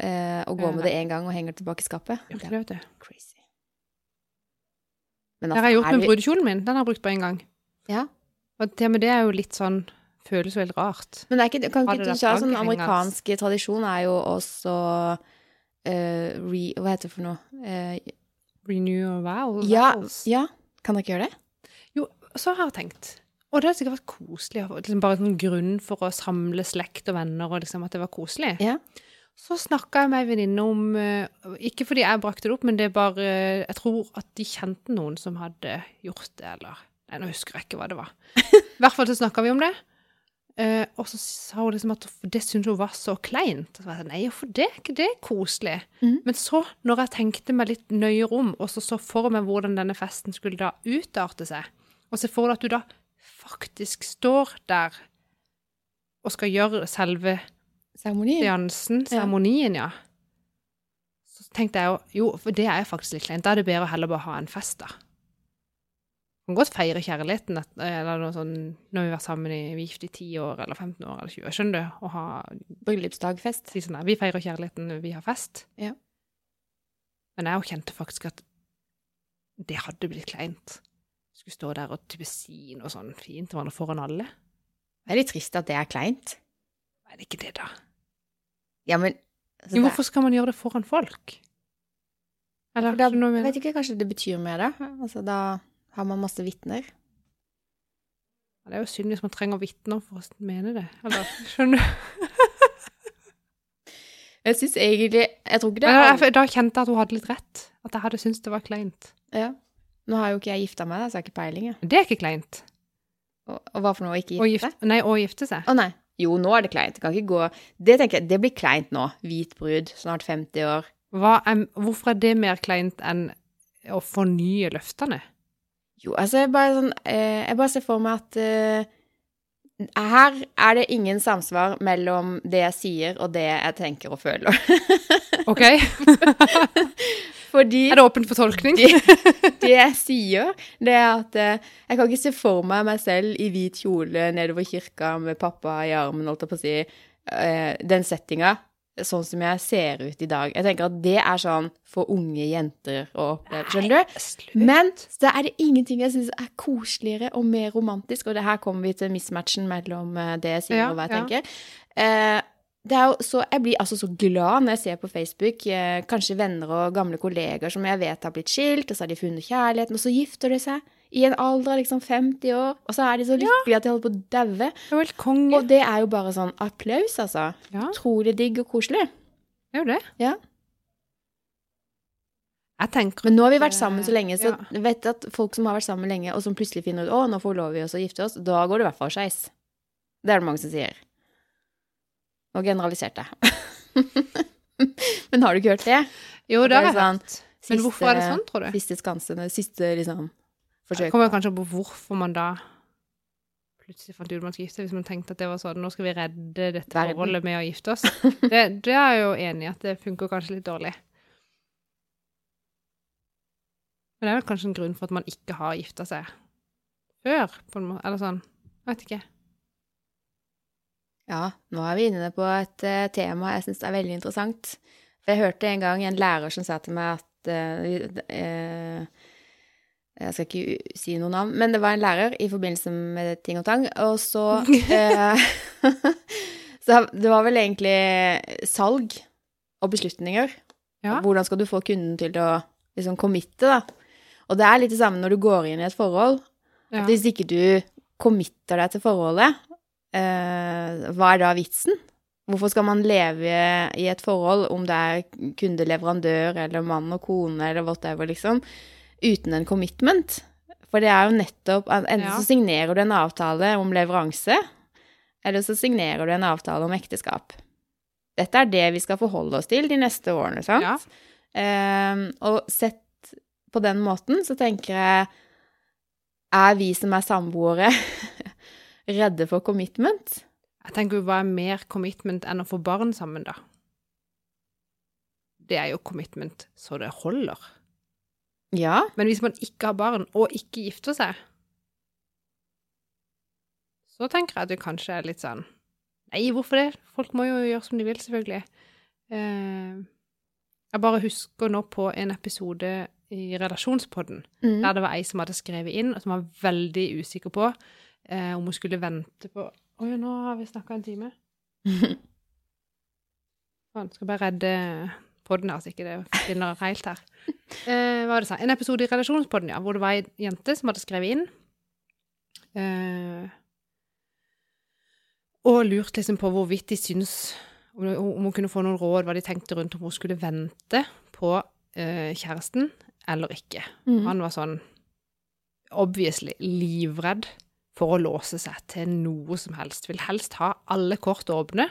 [SPEAKER 2] eh, og går med det én gang og henger det tilbake i skapet.
[SPEAKER 1] Gjør ikke
[SPEAKER 2] Det
[SPEAKER 1] det,
[SPEAKER 2] er
[SPEAKER 1] vet du.
[SPEAKER 2] crazy. Men
[SPEAKER 1] Det har jeg gjort
[SPEAKER 2] er
[SPEAKER 1] med
[SPEAKER 2] vi-
[SPEAKER 1] brudekjolen min, den har jeg brukt på en gang.
[SPEAKER 2] Ja.
[SPEAKER 1] Og det, men det er jo litt sånn, føles veldig rart.
[SPEAKER 2] Men det er ikke, kan
[SPEAKER 1] Har
[SPEAKER 2] ikke
[SPEAKER 1] dere
[SPEAKER 2] du kjøre sånn
[SPEAKER 1] plankehengende?
[SPEAKER 2] amerikansk tradisjon er jo også eh, re, Hva heter det for noe? Eh,
[SPEAKER 1] Renew og wow.
[SPEAKER 2] ja,
[SPEAKER 1] vows.
[SPEAKER 2] ja, kan dere gjøre det?
[SPEAKER 1] Jo, så har jeg tenkt. Og det hadde sikkert vært koselig. å få Liksom bare en grunn for å samle slekt og venner, og liksom at det var koselig.
[SPEAKER 2] Ja.
[SPEAKER 1] Så snakka jeg med ei venninne om eh, Ikke fordi jeg brakte det opp, men det er bare eh, Jeg tror at de kjente noen som hadde gjort det, eller Nei, nå husker jeg ikke hva det var. I hvert fall så snakka vi om det. Eh, og så sa hun liksom at det syntes hun var så kleint. Og så var jeg sånn, Nei, for det, er ikke- det er koselig.
[SPEAKER 2] Mhm.
[SPEAKER 1] Men så, når jeg tenkte meg litt nøyere om, og så så for meg hvordan denne festen skulle da utarte seg, og se for deg at du da faktisk står der og skal gjøre selve
[SPEAKER 2] Seremoni?
[SPEAKER 1] seansen, seremonien, ja. Så tenkte jeg jo, jo, for det er jo faktisk litt kleint. Da er det bedre å heller bare ha en fest, da. Man kan godt feire kjærligheten at- eller noe sånn, når vi har vært sammen i, vi er gift i 10 år, eller 15 år, eller 20 år, skjønner du? Og ha,
[SPEAKER 2] Bryllupsdagfest.
[SPEAKER 1] si sånn der, vi feirer kjærligheten, vi har fest.
[SPEAKER 2] Ja.
[SPEAKER 1] Men jeg jo kjente faktisk at det hadde blitt kleint. Skulle stå der og type si noe sånn fint til hverandre foran alle.
[SPEAKER 2] Det er litt trist at det er kleint.
[SPEAKER 1] Er det ikke det, da?
[SPEAKER 2] Ja, men altså,
[SPEAKER 1] Jo,
[SPEAKER 2] det-
[SPEAKER 1] hvorfor skal man gjøre det foran folk? Eller,
[SPEAKER 2] For da-
[SPEAKER 1] skjønner du hva jeg
[SPEAKER 2] Jeg
[SPEAKER 1] mener?
[SPEAKER 2] vet ikke, kanskje det betyr mer da? Altså, da har man masse vitner.
[SPEAKER 1] Ja, Det er jo synd hvis man trenger vitner for å mene det. Eller, skjønner du?
[SPEAKER 2] Jeg syns egentlig Jeg tror ikke det
[SPEAKER 1] Men
[SPEAKER 2] er
[SPEAKER 1] da, da kjente jeg at hun hadde litt rett. At jeg hadde syntes det var kleint.
[SPEAKER 2] ja. Nå har jo ikke jeg gifta meg, da, så jeg har ikke peiling. Jeg.
[SPEAKER 1] Men det er ikke kleint.
[SPEAKER 2] Og, og hva for noe å ikke
[SPEAKER 1] Å
[SPEAKER 2] gifte
[SPEAKER 1] gifte,
[SPEAKER 2] seg?
[SPEAKER 1] nei, å gifte seg.
[SPEAKER 2] Å nei. Jo, nå er det kleint. Det kan ikke gå Det tenker jeg, det blir kleint nå. Hvit brud, snart 50 år.
[SPEAKER 1] Hva er, hvorfor er det mer kleint enn å fornye løftene?
[SPEAKER 2] Jo, altså, jeg bare, sånn, eh, jeg bare ser for meg at eh, her er det ingen samsvar mellom det jeg sier og det jeg tenker og føler.
[SPEAKER 1] OK? Er
[SPEAKER 2] Fordi
[SPEAKER 1] det åpent for tolkning?
[SPEAKER 2] det jeg sier, det er at eh, jeg kan ikke se for meg meg selv i hvit kjole nedover kirka med pappa i armen, holdt jeg på å si, eh, den settinga, sånn som jeg ser ut i dag. Jeg tenker at det er sånn for unge jenter å oppleve, skjønner du?
[SPEAKER 1] Slutt.
[SPEAKER 2] Men så er det ingenting jeg syns er koseligere og mer romantisk, og det her kommer vi til mismatchen mellom eh, det jeg sier
[SPEAKER 1] Ja,
[SPEAKER 2] og hva jeg
[SPEAKER 1] ja.
[SPEAKER 2] tenker. Eh, det er jo så, jeg blir altså så glad når jeg ser på Facebook eh, kanskje venner og gamle kollegaer som jeg vet har blitt skilt, og så har de funnet kjærligheten, og så gifter de seg i en alder av liksom 50 år, og så er de så lykkelige at de holder på å daue.
[SPEAKER 1] Det er jo helt konge.
[SPEAKER 2] Og det er jo bare sånn applaus, altså.
[SPEAKER 1] Ja,
[SPEAKER 2] Utrolig digg og koselig.
[SPEAKER 1] det er jo det.
[SPEAKER 2] Ja.
[SPEAKER 1] Jeg tenker
[SPEAKER 2] Men nå har vi vært sammen så lenge, så
[SPEAKER 1] Eh, Ja.
[SPEAKER 2] vet jeg at folk som har vært sammen lenge, og som plutselig finner ut å, nå forlover vi oss og gifter oss, da går det i hvert fall skeis. Det er det mange som sier. Nå generaliserte jeg. Men har du ikke hørt det?
[SPEAKER 1] Jo, det
[SPEAKER 2] det er
[SPEAKER 1] har jeg
[SPEAKER 2] sånn,
[SPEAKER 1] hørt. Men hvorfor er det sånn, tror du?
[SPEAKER 2] Siste skansene, siste liksom
[SPEAKER 1] Det
[SPEAKER 2] forsøk.
[SPEAKER 1] kommer jo kanskje på hvorfor man da plutselig fant ut man skulle gifte hvis man tenkte at det var sånn, nå skal vi redde dette
[SPEAKER 2] Verden.
[SPEAKER 1] forholdet med å gifte oss. Det, det er jeg jo enig i at det funker kanskje litt dårlig. Men det er vel kanskje en grunn for at man ikke har gifta seg før, på en måte, eller sånn. Jeg vet ikke.
[SPEAKER 2] Ja, nå er vi inne på et eh, tema jeg syns er veldig interessant. For jeg hørte en gang en lærer som sa til meg at eh, vi- eh, Jeg skal ikke u- si noe navn, men det var en lærer i forbindelse med ting og tang, og så eh, Så det var vel egentlig salg og beslutninger.
[SPEAKER 1] Ja.
[SPEAKER 2] Hvordan skal du få kunden til å liksom committe, da? Og det er litt det samme når du går inn i et forhold.
[SPEAKER 1] Ja.
[SPEAKER 2] At Hvis ikke du committer deg til forholdet, eh, hva er da vitsen? Hvorfor skal man leve i et forhold, om det er kundeleverandør eller mann og kone eller whatever, liksom, uten en commitment? For det er jo nettopp at Enten
[SPEAKER 1] Ja.
[SPEAKER 2] så signerer du en avtale om leveranse, eller så signerer du en avtale om ekteskap. Dette er det vi skal forholde oss til de neste årene, sant?
[SPEAKER 1] Ja.
[SPEAKER 2] Ehm, og sett på den måten, så tenker jeg Er vi som er samboere, redde for commitment?
[SPEAKER 1] Jeg tenker jo hva er mer commitment enn å få barn sammen, da? Det er jo commitment så det holder.
[SPEAKER 2] Ja.
[SPEAKER 1] Men hvis man ikke har barn, og ikke gifter seg, så tenker jeg at det kanskje er litt sånn Nei, hvorfor det? Folk må jo gjøre som de vil, selvfølgelig. Eh, jeg bare husker nå på en episode i Relasjonspodden,
[SPEAKER 2] Mm.
[SPEAKER 1] der det var ei som hadde skrevet inn, og som var veldig usikker på eh, om hun skulle vente på Oi, nå har vi snakka en time.
[SPEAKER 2] Mm.
[SPEAKER 1] Faen, skal bare redde podden her, så ikke det forsvinner helt her. Eh, hva var det jeg sa? En episode i relasjonspodden, ja, hvor det var ei jente som hadde skrevet inn. Eh, og lurt liksom på hvorvidt de syns om, om hun kunne få noen råd, hva de tenkte rundt om hun skulle vente på eh, kjæresten eller ikke.
[SPEAKER 2] Mm.
[SPEAKER 1] Han var sånn obviously livredd for å låse seg til noe som helst. Vil helst ha alle kort åpne,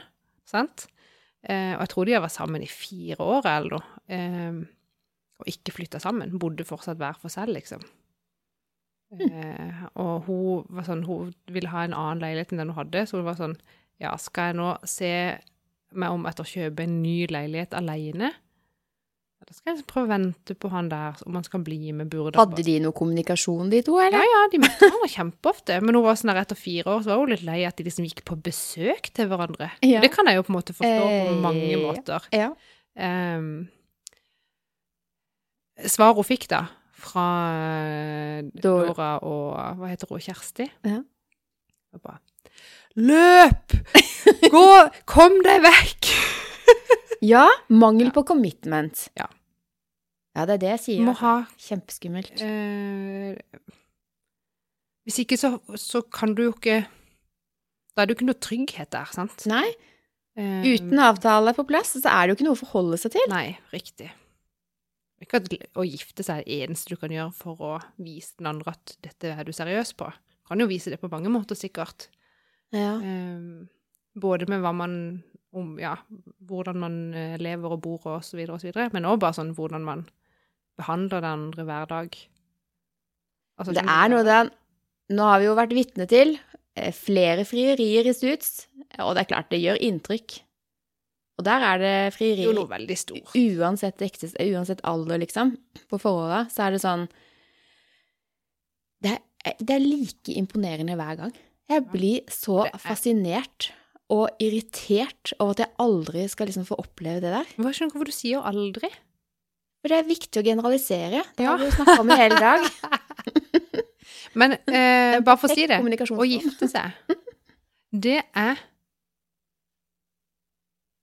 [SPEAKER 1] sant? Eh, og jeg tror de har vært sammen i fire år eller noe, eh, og ikke flytta sammen. Bodde fortsatt hver for seg, liksom. Eh, og hun var sånn, hun ville ha en annen leilighet enn den hun hadde, så hun var sånn Ja, skal jeg nå se meg om etter å kjøpe en ny leilighet aleine? Eller skal jeg prøve å vente på han der, om han skal bli med? Burde han bare-
[SPEAKER 2] Hadde de noe kommunikasjon, de to, eller?
[SPEAKER 1] ja, ja, de møtte hverandre kjempeofte. Men hun var sånn der etter fire år så var hun litt lei at de liksom gikk på besøk til hverandre.
[SPEAKER 2] Ja.
[SPEAKER 1] Det kan jeg jo på en måte forstå på
[SPEAKER 2] Eh,
[SPEAKER 1] mange
[SPEAKER 2] ja.
[SPEAKER 1] måter.
[SPEAKER 2] Ja.
[SPEAKER 1] Um, svar hun fikk da, fra
[SPEAKER 2] Da-
[SPEAKER 1] Dora og Hva heter hun? Kjersti?
[SPEAKER 2] Ja.
[SPEAKER 1] Det var bra. Løp! Gå! Kom deg vekk!
[SPEAKER 2] ja. Mangel på commitment.
[SPEAKER 1] Ja.
[SPEAKER 2] Ja, det er det jeg
[SPEAKER 1] Du
[SPEAKER 2] sier.
[SPEAKER 1] må ha
[SPEAKER 2] Kjempeskummelt.
[SPEAKER 1] Eh, hvis ikke, så, så kan du jo ikke Da er det jo ikke noe trygghet der, sant?
[SPEAKER 2] Nei,
[SPEAKER 1] Eh,
[SPEAKER 2] uten avtale på plass, så er det jo ikke noe å forholde seg til.
[SPEAKER 1] Nei, riktig. Ikke at å gifte seg er det eneste du kan gjøre for å vise den andre at dette er du seriøs på. Kan jo vise det på mange måter, sikkert.
[SPEAKER 2] Ja.
[SPEAKER 1] Eh, både med hva man om, ja, hvordan man eh, lever og bor og så videre og så videre, men også bare sånn hvordan man behandler den andre hver dag. Altså,
[SPEAKER 2] Det
[SPEAKER 1] skjønner du?
[SPEAKER 2] er noe det Nå har vi jo vært vitne til eh, flere frierier i Suits, og det er klart det gjør inntrykk. Og der er
[SPEAKER 1] Det
[SPEAKER 2] det
[SPEAKER 1] er jo
[SPEAKER 2] frierier
[SPEAKER 1] noe veldig stort.
[SPEAKER 2] uansett, ektes, uansett alder, liksom, på forholda, så er det sånn det er, eh, det er like imponerende hver gang. Jeg blir så
[SPEAKER 1] Det er-
[SPEAKER 2] fascinert og irritert over at jeg aldri skal liksom få oppleve det der.
[SPEAKER 1] Men Jeg skjønner ikke hvorfor du sier aldri.
[SPEAKER 2] For det er viktig å generalisere. Det
[SPEAKER 1] Ja.
[SPEAKER 2] har vi jo snakka om i hele dag.
[SPEAKER 1] Men eh, bare for å si det, å
[SPEAKER 2] Kommunikasjonsform.
[SPEAKER 1] gifte seg, det er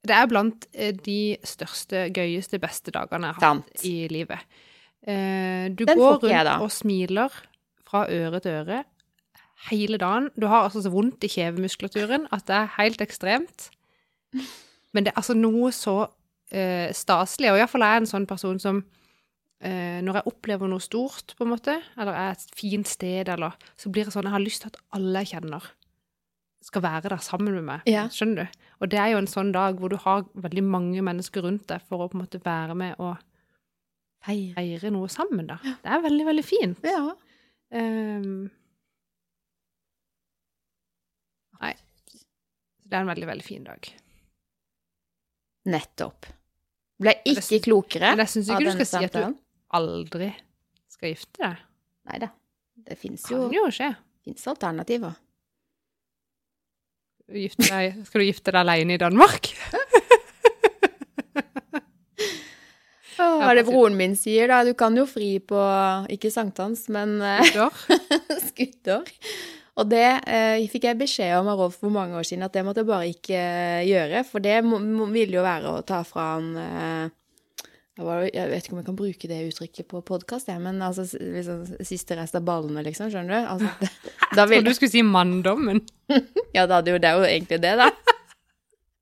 [SPEAKER 1] Det er blant eh, de største, gøyeste, beste dagene jeg har hatt
[SPEAKER 2] Sant.
[SPEAKER 1] i livet. Eh, du
[SPEAKER 2] Den
[SPEAKER 1] går
[SPEAKER 2] får ikke jeg,
[SPEAKER 1] rundt
[SPEAKER 2] da.
[SPEAKER 1] og smiler fra øre til øre hele dagen. Du har altså så vondt i kjevemuskulaturen at det er helt ekstremt. Men det er altså noe så eh, staselig, og iallfall er jeg en sånn person som eh, når jeg opplever noe stort, på en måte, eller er et fint sted, eller så blir det sånn Jeg har lyst til at alle jeg kjenner, skal være der sammen med meg.
[SPEAKER 2] Ja.
[SPEAKER 1] Skjønner du? Og det er jo en sånn dag hvor du har veldig mange mennesker rundt deg for å på en måte være med og
[SPEAKER 2] Feire.
[SPEAKER 1] feire noe sammen, da. Det er veldig, veldig fint.
[SPEAKER 2] Ja.
[SPEAKER 1] Ehm. nei. Så det er en veldig, veldig fin dag.
[SPEAKER 2] Nettopp. Ble
[SPEAKER 1] det
[SPEAKER 2] ikke
[SPEAKER 1] syns-
[SPEAKER 2] klokere
[SPEAKER 1] Men jeg syns ikke
[SPEAKER 2] av
[SPEAKER 1] du skal
[SPEAKER 2] denne
[SPEAKER 1] si at du
[SPEAKER 2] samtalen.
[SPEAKER 1] aldri skal gifte deg.
[SPEAKER 2] Nei da. Det fins
[SPEAKER 1] Det
[SPEAKER 2] jo
[SPEAKER 1] kan jo skje.
[SPEAKER 2] finnes alternativer.
[SPEAKER 1] Gifte deg, skal du gifte deg alene i Danmark?
[SPEAKER 2] Hva er det
[SPEAKER 1] precis.
[SPEAKER 2] broren min sier, da? Du kan jo fri på ikke sankthans, men eh,
[SPEAKER 1] Dør?
[SPEAKER 2] skuddår. Og det eh, fikk jeg beskjed om av Rolf for mange år siden, at det måtte jeg bare ikke eh, gjøre. For det må, må, ville jo være å ta fra han eh, hva var det- Jeg vet ikke om jeg kan bruke det uttrykket på podkast, men altså s- liksom, siste rest av ballene, liksom. Skjønner du? Altså, det, da
[SPEAKER 1] Jeg
[SPEAKER 2] vil,
[SPEAKER 1] trodde du skulle si manndommen.
[SPEAKER 2] ja, da hadde jo det er jo egentlig det, da.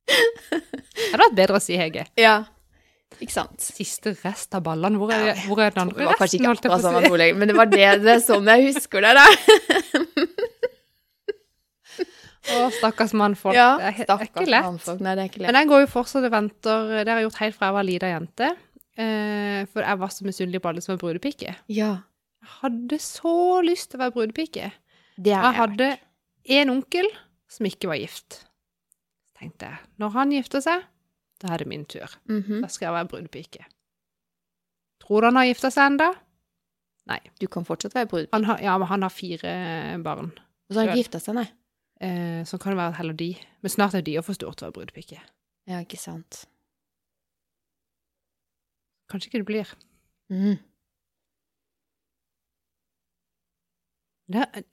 [SPEAKER 1] Det hadde vært bedre å si, Hege.
[SPEAKER 2] Ja. Ikke sant?
[SPEAKER 1] Siste rest av ballene. Hvor er, hvor er den
[SPEAKER 2] Det
[SPEAKER 1] andre
[SPEAKER 2] var kanskje
[SPEAKER 1] resten?
[SPEAKER 2] ikke
[SPEAKER 1] holdt jeg på å
[SPEAKER 2] akkurat sånn
[SPEAKER 1] si?
[SPEAKER 2] at hun legger- men det var det, det er sånn jeg husker det, da.
[SPEAKER 1] Å, stakkars mannfolk.
[SPEAKER 2] Ja,
[SPEAKER 1] det er, he- det er ikke lett.
[SPEAKER 2] Nei, det er ikke lett.
[SPEAKER 1] Men jeg går jo fortsatt og venter Det har jeg gjort helt fra jeg var lita jente. Eh, for jeg var så misunnelig på alle som var brudepike.
[SPEAKER 2] Ja.
[SPEAKER 1] Jeg hadde så lyst til å være brudepike.
[SPEAKER 2] Det er
[SPEAKER 1] Jeg hadde en onkel som ikke var gift. Tenkte jeg, når han gifter seg, da er det min tur.
[SPEAKER 2] Mhm.
[SPEAKER 1] Da skal jeg være brudepike. Tror du han har gifta seg ennå?
[SPEAKER 2] Du kan fortsatt være brud.
[SPEAKER 1] Han har, ja, men han har fire eh, barn.
[SPEAKER 2] Og så har han ikke gifta seg, nei.
[SPEAKER 1] Eh, så kan det være at heller de. Men snart er de jo for store til å være brudepike.
[SPEAKER 2] Ja, ikke sant.
[SPEAKER 1] Kanskje ikke det blir.
[SPEAKER 2] Mhm.
[SPEAKER 1] Det, er-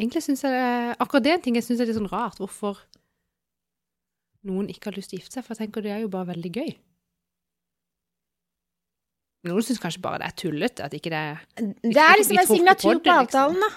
[SPEAKER 1] egentlig syns jeg det- Akkurat det er en ting jeg syns er litt sånn rart. Hvorfor noen ikke har lyst til å gifte seg. For jeg tenker det er jo bare veldig gøy. Noen syns kanskje bare det er tullete. At ikke det er
[SPEAKER 2] Det er liksom
[SPEAKER 1] vi tror ikke
[SPEAKER 2] en
[SPEAKER 1] på
[SPEAKER 2] signatur
[SPEAKER 1] det,
[SPEAKER 2] på
[SPEAKER 1] liksom.
[SPEAKER 2] avtalen, da.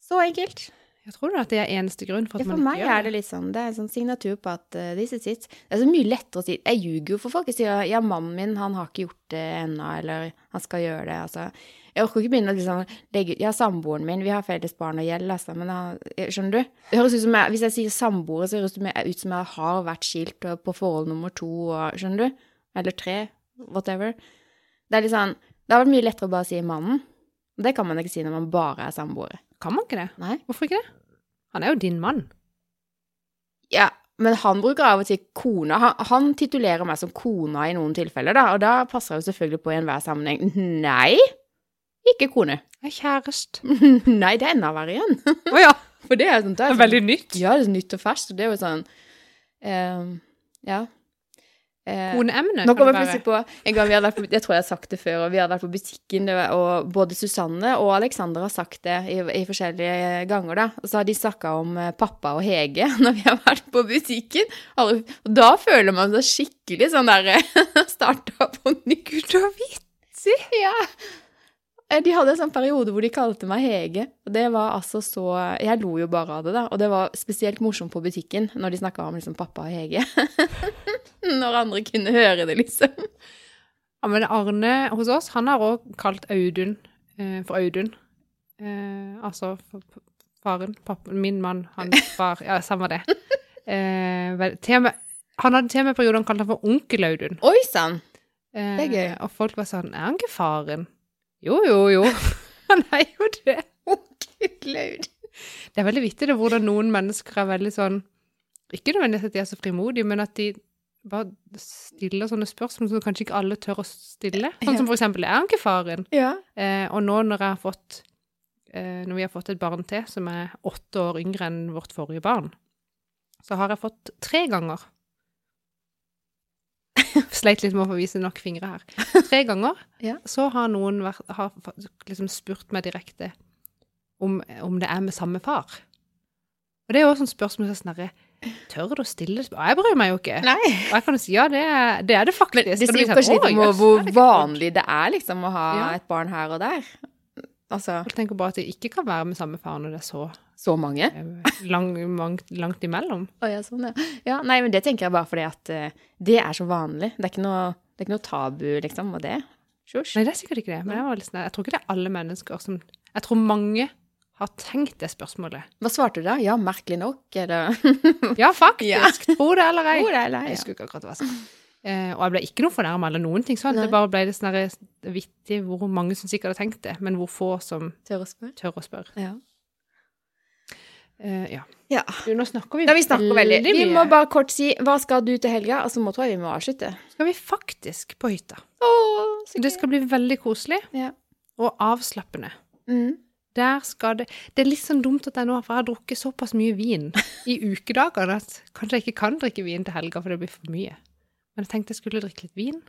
[SPEAKER 2] Så enkelt.
[SPEAKER 1] Jeg tror at det er eneste grunn for at
[SPEAKER 2] Ja, for
[SPEAKER 1] man
[SPEAKER 2] meg
[SPEAKER 1] ikke
[SPEAKER 2] er
[SPEAKER 1] gjør
[SPEAKER 2] det
[SPEAKER 1] det.
[SPEAKER 2] litt sånn, det er en sånn signatur på at eh, this is it. Det er så mye lettere å si Jeg ljuger jo for folk. Jeg sier ja, mannen min han har ikke gjort det ennå, eller han skal gjøre det. Altså. Jeg orker ikke begynne å liksom, legge ut Ja, samboeren min, vi har felles barn og gjeld, altså, men han, skjønner du? Det høres ut som jeg, Hvis jeg sier samboer, så høres det ut som jeg har vært skilt og på forhold nummer to, og, skjønner du? Eller tre, whatever. Det er litt sånn Det har vært mye lettere å bare si mannen. Og det kan man ikke si når man bare er samboere.
[SPEAKER 1] Kan man ikke det?
[SPEAKER 2] Nei.
[SPEAKER 1] Hvorfor ikke det? Han er jo din mann.
[SPEAKER 2] Ja, men han bruker av og til kona. Han, han titulerer meg som kona i noen tilfeller, da, og da passer jeg jo selvfølgelig på i enhver sammenheng. Nei, ikke kone.
[SPEAKER 1] Jeg er kjæreste.
[SPEAKER 2] Nei, det er enda verre igjen.
[SPEAKER 1] Å ja!
[SPEAKER 2] For det er jo sånn, det
[SPEAKER 1] Det
[SPEAKER 2] er
[SPEAKER 1] er
[SPEAKER 2] sånn
[SPEAKER 1] veldig nytt.
[SPEAKER 2] Ja, det er sånn nytt og ferskt, og det er jo sånn ehm, Ja. Eh,
[SPEAKER 1] Koneemne.
[SPEAKER 2] nå
[SPEAKER 1] kan
[SPEAKER 2] kommer
[SPEAKER 1] det
[SPEAKER 2] jeg
[SPEAKER 1] være.
[SPEAKER 2] plutselig på en gang vi hadde vært på, Jeg tror jeg har sagt det før, og vi hadde vært på butikken, det var- og både Susanne og Alexander har sagt det i, i forskjellige ganger, da. Og så har de snakka om eh, pappa og Hege når vi har vært på butikken. Alle- Og da føler man seg skikkelig sånn derre Starta på ny. Gud og vitsig! Ja. Eh, De hadde en sånn periode hvor de kalte meg Hege. Og det var altså så Jeg lo jo bare av det, da. Og det var spesielt morsomt på butikken når de snakka om liksom pappa og Hege. når andre kunne høre det, liksom.
[SPEAKER 1] Ja, men Arne hos oss, han har også kalt Audun eh, for Audun. Eh, altså for p- faren, pappen, min mann, hans far. Ja, samme det. Eh, vel, til og med- han hadde til og med perioder han kalte han for onkel Audun.
[SPEAKER 2] Oi sann!
[SPEAKER 1] Eh,
[SPEAKER 2] Det er gøy.
[SPEAKER 1] Og folk var sånn, er han ikke faren? Jo, jo, jo. Han er jo det.
[SPEAKER 2] Laud.
[SPEAKER 1] Det er veldig vittig det, hvordan noen mennesker er veldig sånn, ikke nødvendigvis at de er så frimodige, men at de bare stiller sånne spørsmål som kanskje ikke alle tør å stille. Sånn som for eksempel, er han ikke faren?
[SPEAKER 2] Ja.
[SPEAKER 1] Eh, og nå når jeg har fått eh, Når vi har fått et barn til som er åtte år yngre enn vårt forrige barn, så har jeg fått tre ganger Sleit litt med å få vise nok fingre her. Tre ganger
[SPEAKER 2] Ja.
[SPEAKER 1] så har noen vært, har fa- liksom spurt meg direkte om, om det er med samme far. Og det er jo også et spørsmål som er sånn herre Tør du å stille Og jeg bryr meg jo ikke.
[SPEAKER 2] Nei.
[SPEAKER 1] Og jeg kan jo si ja, det er det, er det faktisk.
[SPEAKER 2] Men det
[SPEAKER 1] Og du
[SPEAKER 2] sier jo
[SPEAKER 1] sier,
[SPEAKER 2] kanskje litt
[SPEAKER 1] «Å,
[SPEAKER 2] om
[SPEAKER 1] jøss,
[SPEAKER 2] hvor
[SPEAKER 1] er det ikke sant?»
[SPEAKER 2] vanlig det er liksom å ha
[SPEAKER 1] Ja.
[SPEAKER 2] et barn her og der. Altså
[SPEAKER 1] Jeg tenker bare at det ikke kan være med samme far når det er så
[SPEAKER 2] så mange.
[SPEAKER 1] eh, lang, mangt, langt imellom.
[SPEAKER 2] Å ja, sånn, ja. ja. Nei, men det tenker jeg bare fordi at eh, det er så vanlig. Det er ikke noe, det er ikke noe tabu, liksom, og det. Sjosj.
[SPEAKER 1] Nei, det er sikkert ikke det. Men jeg, var litt sånn, jeg tror ikke det er alle mennesker som Jeg tror mange har tenkt det spørsmålet.
[SPEAKER 2] Hva svarte du da? Ja, merkelig nok, eller
[SPEAKER 1] Ja, faktisk! Tro det eller ei.
[SPEAKER 2] Hvor er det?
[SPEAKER 1] Jeg
[SPEAKER 2] Ja.
[SPEAKER 1] husker ikke akkurat hva jeg sa. Eh, og jeg ble ikke noe fornærma eller noen ting sånn.
[SPEAKER 2] Nei.
[SPEAKER 1] Det bare ble litt sånn der vittig hvor mange som sikkert har tenkt det, men hvor få som
[SPEAKER 2] Tør å spørre.
[SPEAKER 1] tør å spørre.
[SPEAKER 2] Ja.
[SPEAKER 1] Eh, ja.
[SPEAKER 2] ja.
[SPEAKER 1] Du, nå snakker vi,
[SPEAKER 2] Da vi snakker veldig. Vi må
[SPEAKER 1] mye.
[SPEAKER 2] bare kort si hva skal du til helga, og så må tror jeg vi må avslutte.
[SPEAKER 1] Skal vi faktisk på hytta?
[SPEAKER 2] Åh, så
[SPEAKER 1] Det
[SPEAKER 2] gøy.
[SPEAKER 1] skal bli veldig koselig
[SPEAKER 2] Ja.
[SPEAKER 1] og avslappende.
[SPEAKER 2] Mm.
[SPEAKER 1] Der skal det Det er litt sånn dumt at jeg nå for jeg har drukket såpass mye vin i ukedagene at kanskje jeg ikke kan drikke vin til helga, for det blir for mye. Men jeg tenkte jeg skulle drikke litt vin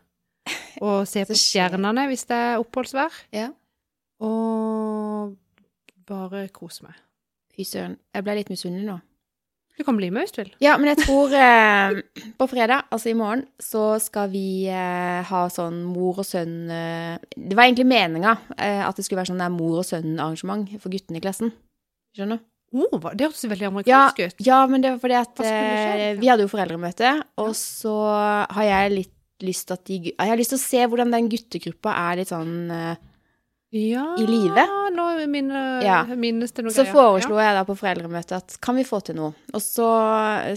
[SPEAKER 1] og se på
[SPEAKER 2] Så skjer-
[SPEAKER 1] stjernene hvis det er oppholdsvær,
[SPEAKER 2] Ja.
[SPEAKER 1] og bare kose meg.
[SPEAKER 2] Fy søren, jeg ble litt misunnelig nå.
[SPEAKER 1] Du kan bli med hvis du vil.
[SPEAKER 2] Ja, men jeg tror eh, på fredag, altså i morgen, så skal vi eh, ha sånn mor og sønn eh, Det var egentlig meninga eh, at det skulle være sånn der mor og sønn-arrangement for guttene i klassen. Skjønner?
[SPEAKER 1] Oh, hva- det hørtes veldig
[SPEAKER 2] Ja,
[SPEAKER 1] amerikansk ut.
[SPEAKER 2] ja, men det var fordi at
[SPEAKER 1] Hva skulle skje,
[SPEAKER 2] eh,
[SPEAKER 1] liksom?
[SPEAKER 2] vi hadde jo foreldremøte, og så har jeg litt lyst til at de gu- Jeg har lyst til å se hvordan den guttegruppa er litt sånn eh,
[SPEAKER 1] Ja,
[SPEAKER 2] i live.
[SPEAKER 1] Nå minner,
[SPEAKER 2] Ja.
[SPEAKER 1] minnes det noe
[SPEAKER 2] Så
[SPEAKER 1] greier.
[SPEAKER 2] foreslo jeg da på foreldremøtet at kan vi få til noe? Og så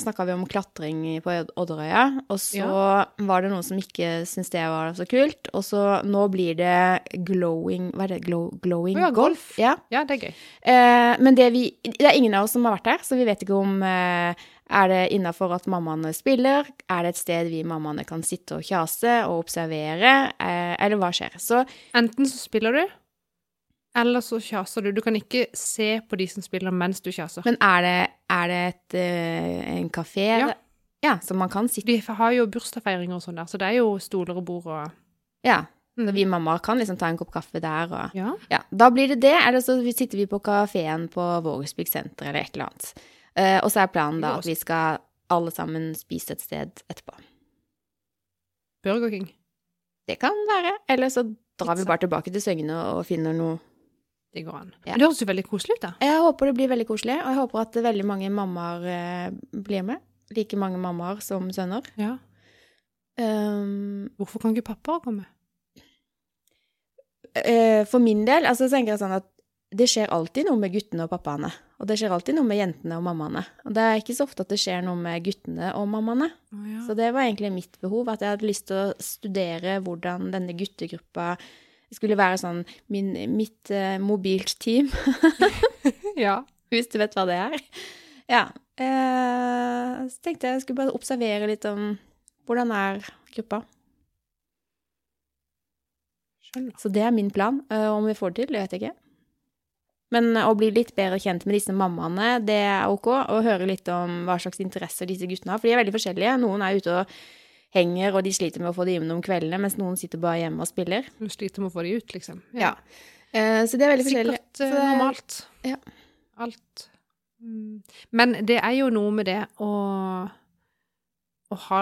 [SPEAKER 2] snakka vi om klatring i- på Odderøya, og så var det noen som ikke syntes det var så kult. Og så nå blir det glowing Hva er det? Glow, glowing
[SPEAKER 1] Å ja, golf.
[SPEAKER 2] Ja.
[SPEAKER 1] Ja. ja, det er gøy.
[SPEAKER 2] Eh, men det, vi, det er ingen av oss som har vært der, så vi vet ikke om eh, Er det innafor at mammaene spiller? Er det et sted vi mammaene kan sitte og kjase og observere? Eh, eller hva skjer? Så
[SPEAKER 1] Enten så spiller du, eller så kjaser du. Du kan ikke se på de som spiller mens du kjaser.
[SPEAKER 2] Men er det, er det et, eh, en kafé?
[SPEAKER 1] Ja.
[SPEAKER 2] ja, som man kan sitte
[SPEAKER 1] De har jo bursdagsfeiringer og sånn der, så det er jo stoler og bord og
[SPEAKER 2] Ja.
[SPEAKER 1] Mm.
[SPEAKER 2] Så vi mammaer kan liksom ta en kopp kaffe der og
[SPEAKER 1] Ja.
[SPEAKER 2] Ja, da blir det det, eller så sitter vi på kafeen på Vågersbygd senter eller et eller annet. Eh, og så er planen da at vi skal alle sammen spise et sted etterpå.
[SPEAKER 1] Burger King.
[SPEAKER 2] Det kan være. Eller så drar vi
[SPEAKER 1] Pizza.
[SPEAKER 2] bare tilbake til Søgne og finner noe
[SPEAKER 1] Det går an.
[SPEAKER 2] Ja.
[SPEAKER 1] Men det høres jo veldig koselig ut, da.
[SPEAKER 2] Jeg håper det blir veldig koselig, og jeg håper at veldig mange mammaer eh, blir med. Like mange mammaer som sønner.
[SPEAKER 1] Ja.
[SPEAKER 2] Um,
[SPEAKER 1] Hvorfor kan ikke pappa komme?
[SPEAKER 2] eh, for min del altså, så tenker jeg sånn at det skjer alltid noe med guttene og pappaene. Og det skjer alltid noe med jentene og mammaene. Og det er ikke så ofte at det skjer noe med guttene og mammaene.
[SPEAKER 1] Å, ja.
[SPEAKER 2] Så det var egentlig mitt behov, at jeg hadde lyst til å studere hvordan denne guttegruppa skulle være sånn min, mitt eh, mobilt team,
[SPEAKER 1] ja.
[SPEAKER 2] hvis du vet hva det er. Ja. Eh, så tenkte jeg jeg skulle bare observere litt om hvordan er gruppa.
[SPEAKER 1] Skjønner.
[SPEAKER 2] Så det er min plan. Eh, om vi får det til, det vet jeg ikke. Men eh, å bli litt bedre kjent med disse mammaene, det er ok. Og høre litt om hva slags interesser disse guttene har. For de er veldig forskjellige. Noen er ute og henger, og de sliter med å få det inn om kveldene, mens noen sitter bare hjemme og spiller.
[SPEAKER 1] Du sliter med å få de ut, liksom.
[SPEAKER 2] Ja. Eh, så det er veldig forskjellig.
[SPEAKER 1] Sikkert eh,
[SPEAKER 2] Så det-
[SPEAKER 1] normalt.
[SPEAKER 2] ja.
[SPEAKER 1] Alt. Mm. Men det er jo noe med det å, å ha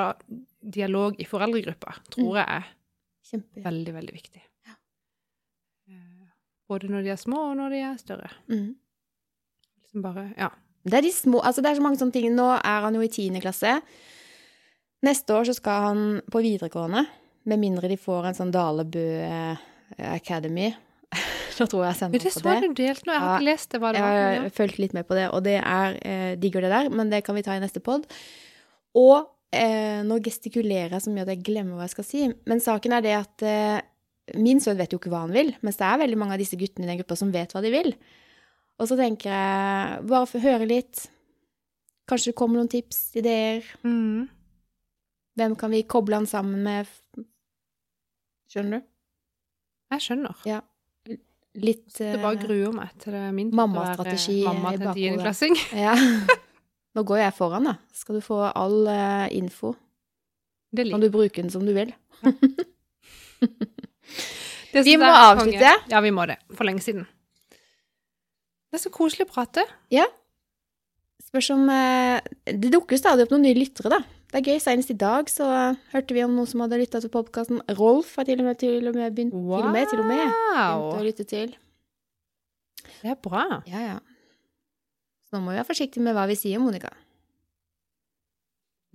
[SPEAKER 1] dialog i foreldregruppa, tror
[SPEAKER 2] Mm.
[SPEAKER 1] jeg er
[SPEAKER 2] Kjempe.
[SPEAKER 1] veldig, veldig viktig. Eh, Både når de er små, og når de er større.
[SPEAKER 2] Mm.
[SPEAKER 1] Liksom bare, ja.
[SPEAKER 2] Det er de små Altså, det er så mange sånne ting. Nå er han jo i tiende klasse. Neste år så skal han på videregående. Med mindre de får en sånn Dalebø eh, Academy. da tror jeg jeg
[SPEAKER 1] Men
[SPEAKER 2] sender
[SPEAKER 1] det
[SPEAKER 2] opp på
[SPEAKER 1] så
[SPEAKER 2] det.
[SPEAKER 1] du delt nå, jeg har
[SPEAKER 2] Ja,
[SPEAKER 1] ikke lest det. Hva det
[SPEAKER 2] Jeg
[SPEAKER 1] var.
[SPEAKER 2] har
[SPEAKER 1] men ja.
[SPEAKER 2] fulgt litt med på det, og det er eh, digger det der, men det kan vi ta i neste pod. Og eh, nå gestikulerer jeg så mye at jeg glemmer hva jeg skal si, men saken er det at eh, min sønn vet jo ikke hva han vil, mens det er veldig mange av disse guttene i den gruppa som vet hva de vil. Og så tenker jeg bare få høre litt. Kanskje det kommer noen tips, ideer.
[SPEAKER 1] Mm.
[SPEAKER 2] Hvem kan vi koble han sammen med? Skjønner du?
[SPEAKER 1] Jeg skjønner.
[SPEAKER 2] Litt
[SPEAKER 1] Det
[SPEAKER 2] eh,
[SPEAKER 1] bare gruer meg til det er min tur å være
[SPEAKER 2] Mammastrategi
[SPEAKER 1] mamma til
[SPEAKER 2] i
[SPEAKER 1] en
[SPEAKER 2] bakhodet.
[SPEAKER 1] tiendeklassing.
[SPEAKER 2] Ja. Nå går jeg foran, da. Skal du få all eh, info.
[SPEAKER 1] Det
[SPEAKER 2] Kan
[SPEAKER 1] liker jeg.
[SPEAKER 2] du bruke den som du vil.
[SPEAKER 1] Det
[SPEAKER 2] Vi
[SPEAKER 1] synes
[SPEAKER 2] må
[SPEAKER 1] jeg er
[SPEAKER 2] avslutte.
[SPEAKER 1] konge. Ja, vi må det. For lenge siden. Det er så koselig å prate.
[SPEAKER 2] Spørs om eh, Det dukker stadig opp noen nye lyttere, da. Det er gøy. Senest i dag så hørte vi om noen som hadde lytta til podkasten. Rolf har til og med, til og med begynt til og med, til og med, begynt å
[SPEAKER 1] Wow!
[SPEAKER 2] lytte til.
[SPEAKER 1] Det er bra.
[SPEAKER 2] Ja, ja. Så nå må vi være forsiktige med hva vi sier, Monica.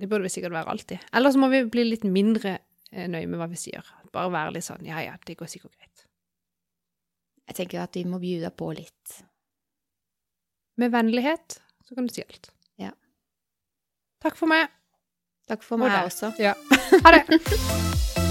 [SPEAKER 1] Det burde vi sikkert være alltid. Eller så må vi bli litt mindre eh, nøye med hva vi sier. Bare være litt sånn ja ja, det går sikkert greit.
[SPEAKER 2] Jeg tenker at vi må bjuda på litt.
[SPEAKER 1] Med vennlighet så kan du si alt.
[SPEAKER 2] Ja.
[SPEAKER 1] Takk for meg.
[SPEAKER 2] Takk for
[SPEAKER 1] Og
[SPEAKER 2] meg
[SPEAKER 1] deg.
[SPEAKER 2] også.
[SPEAKER 1] Ja. Ha det.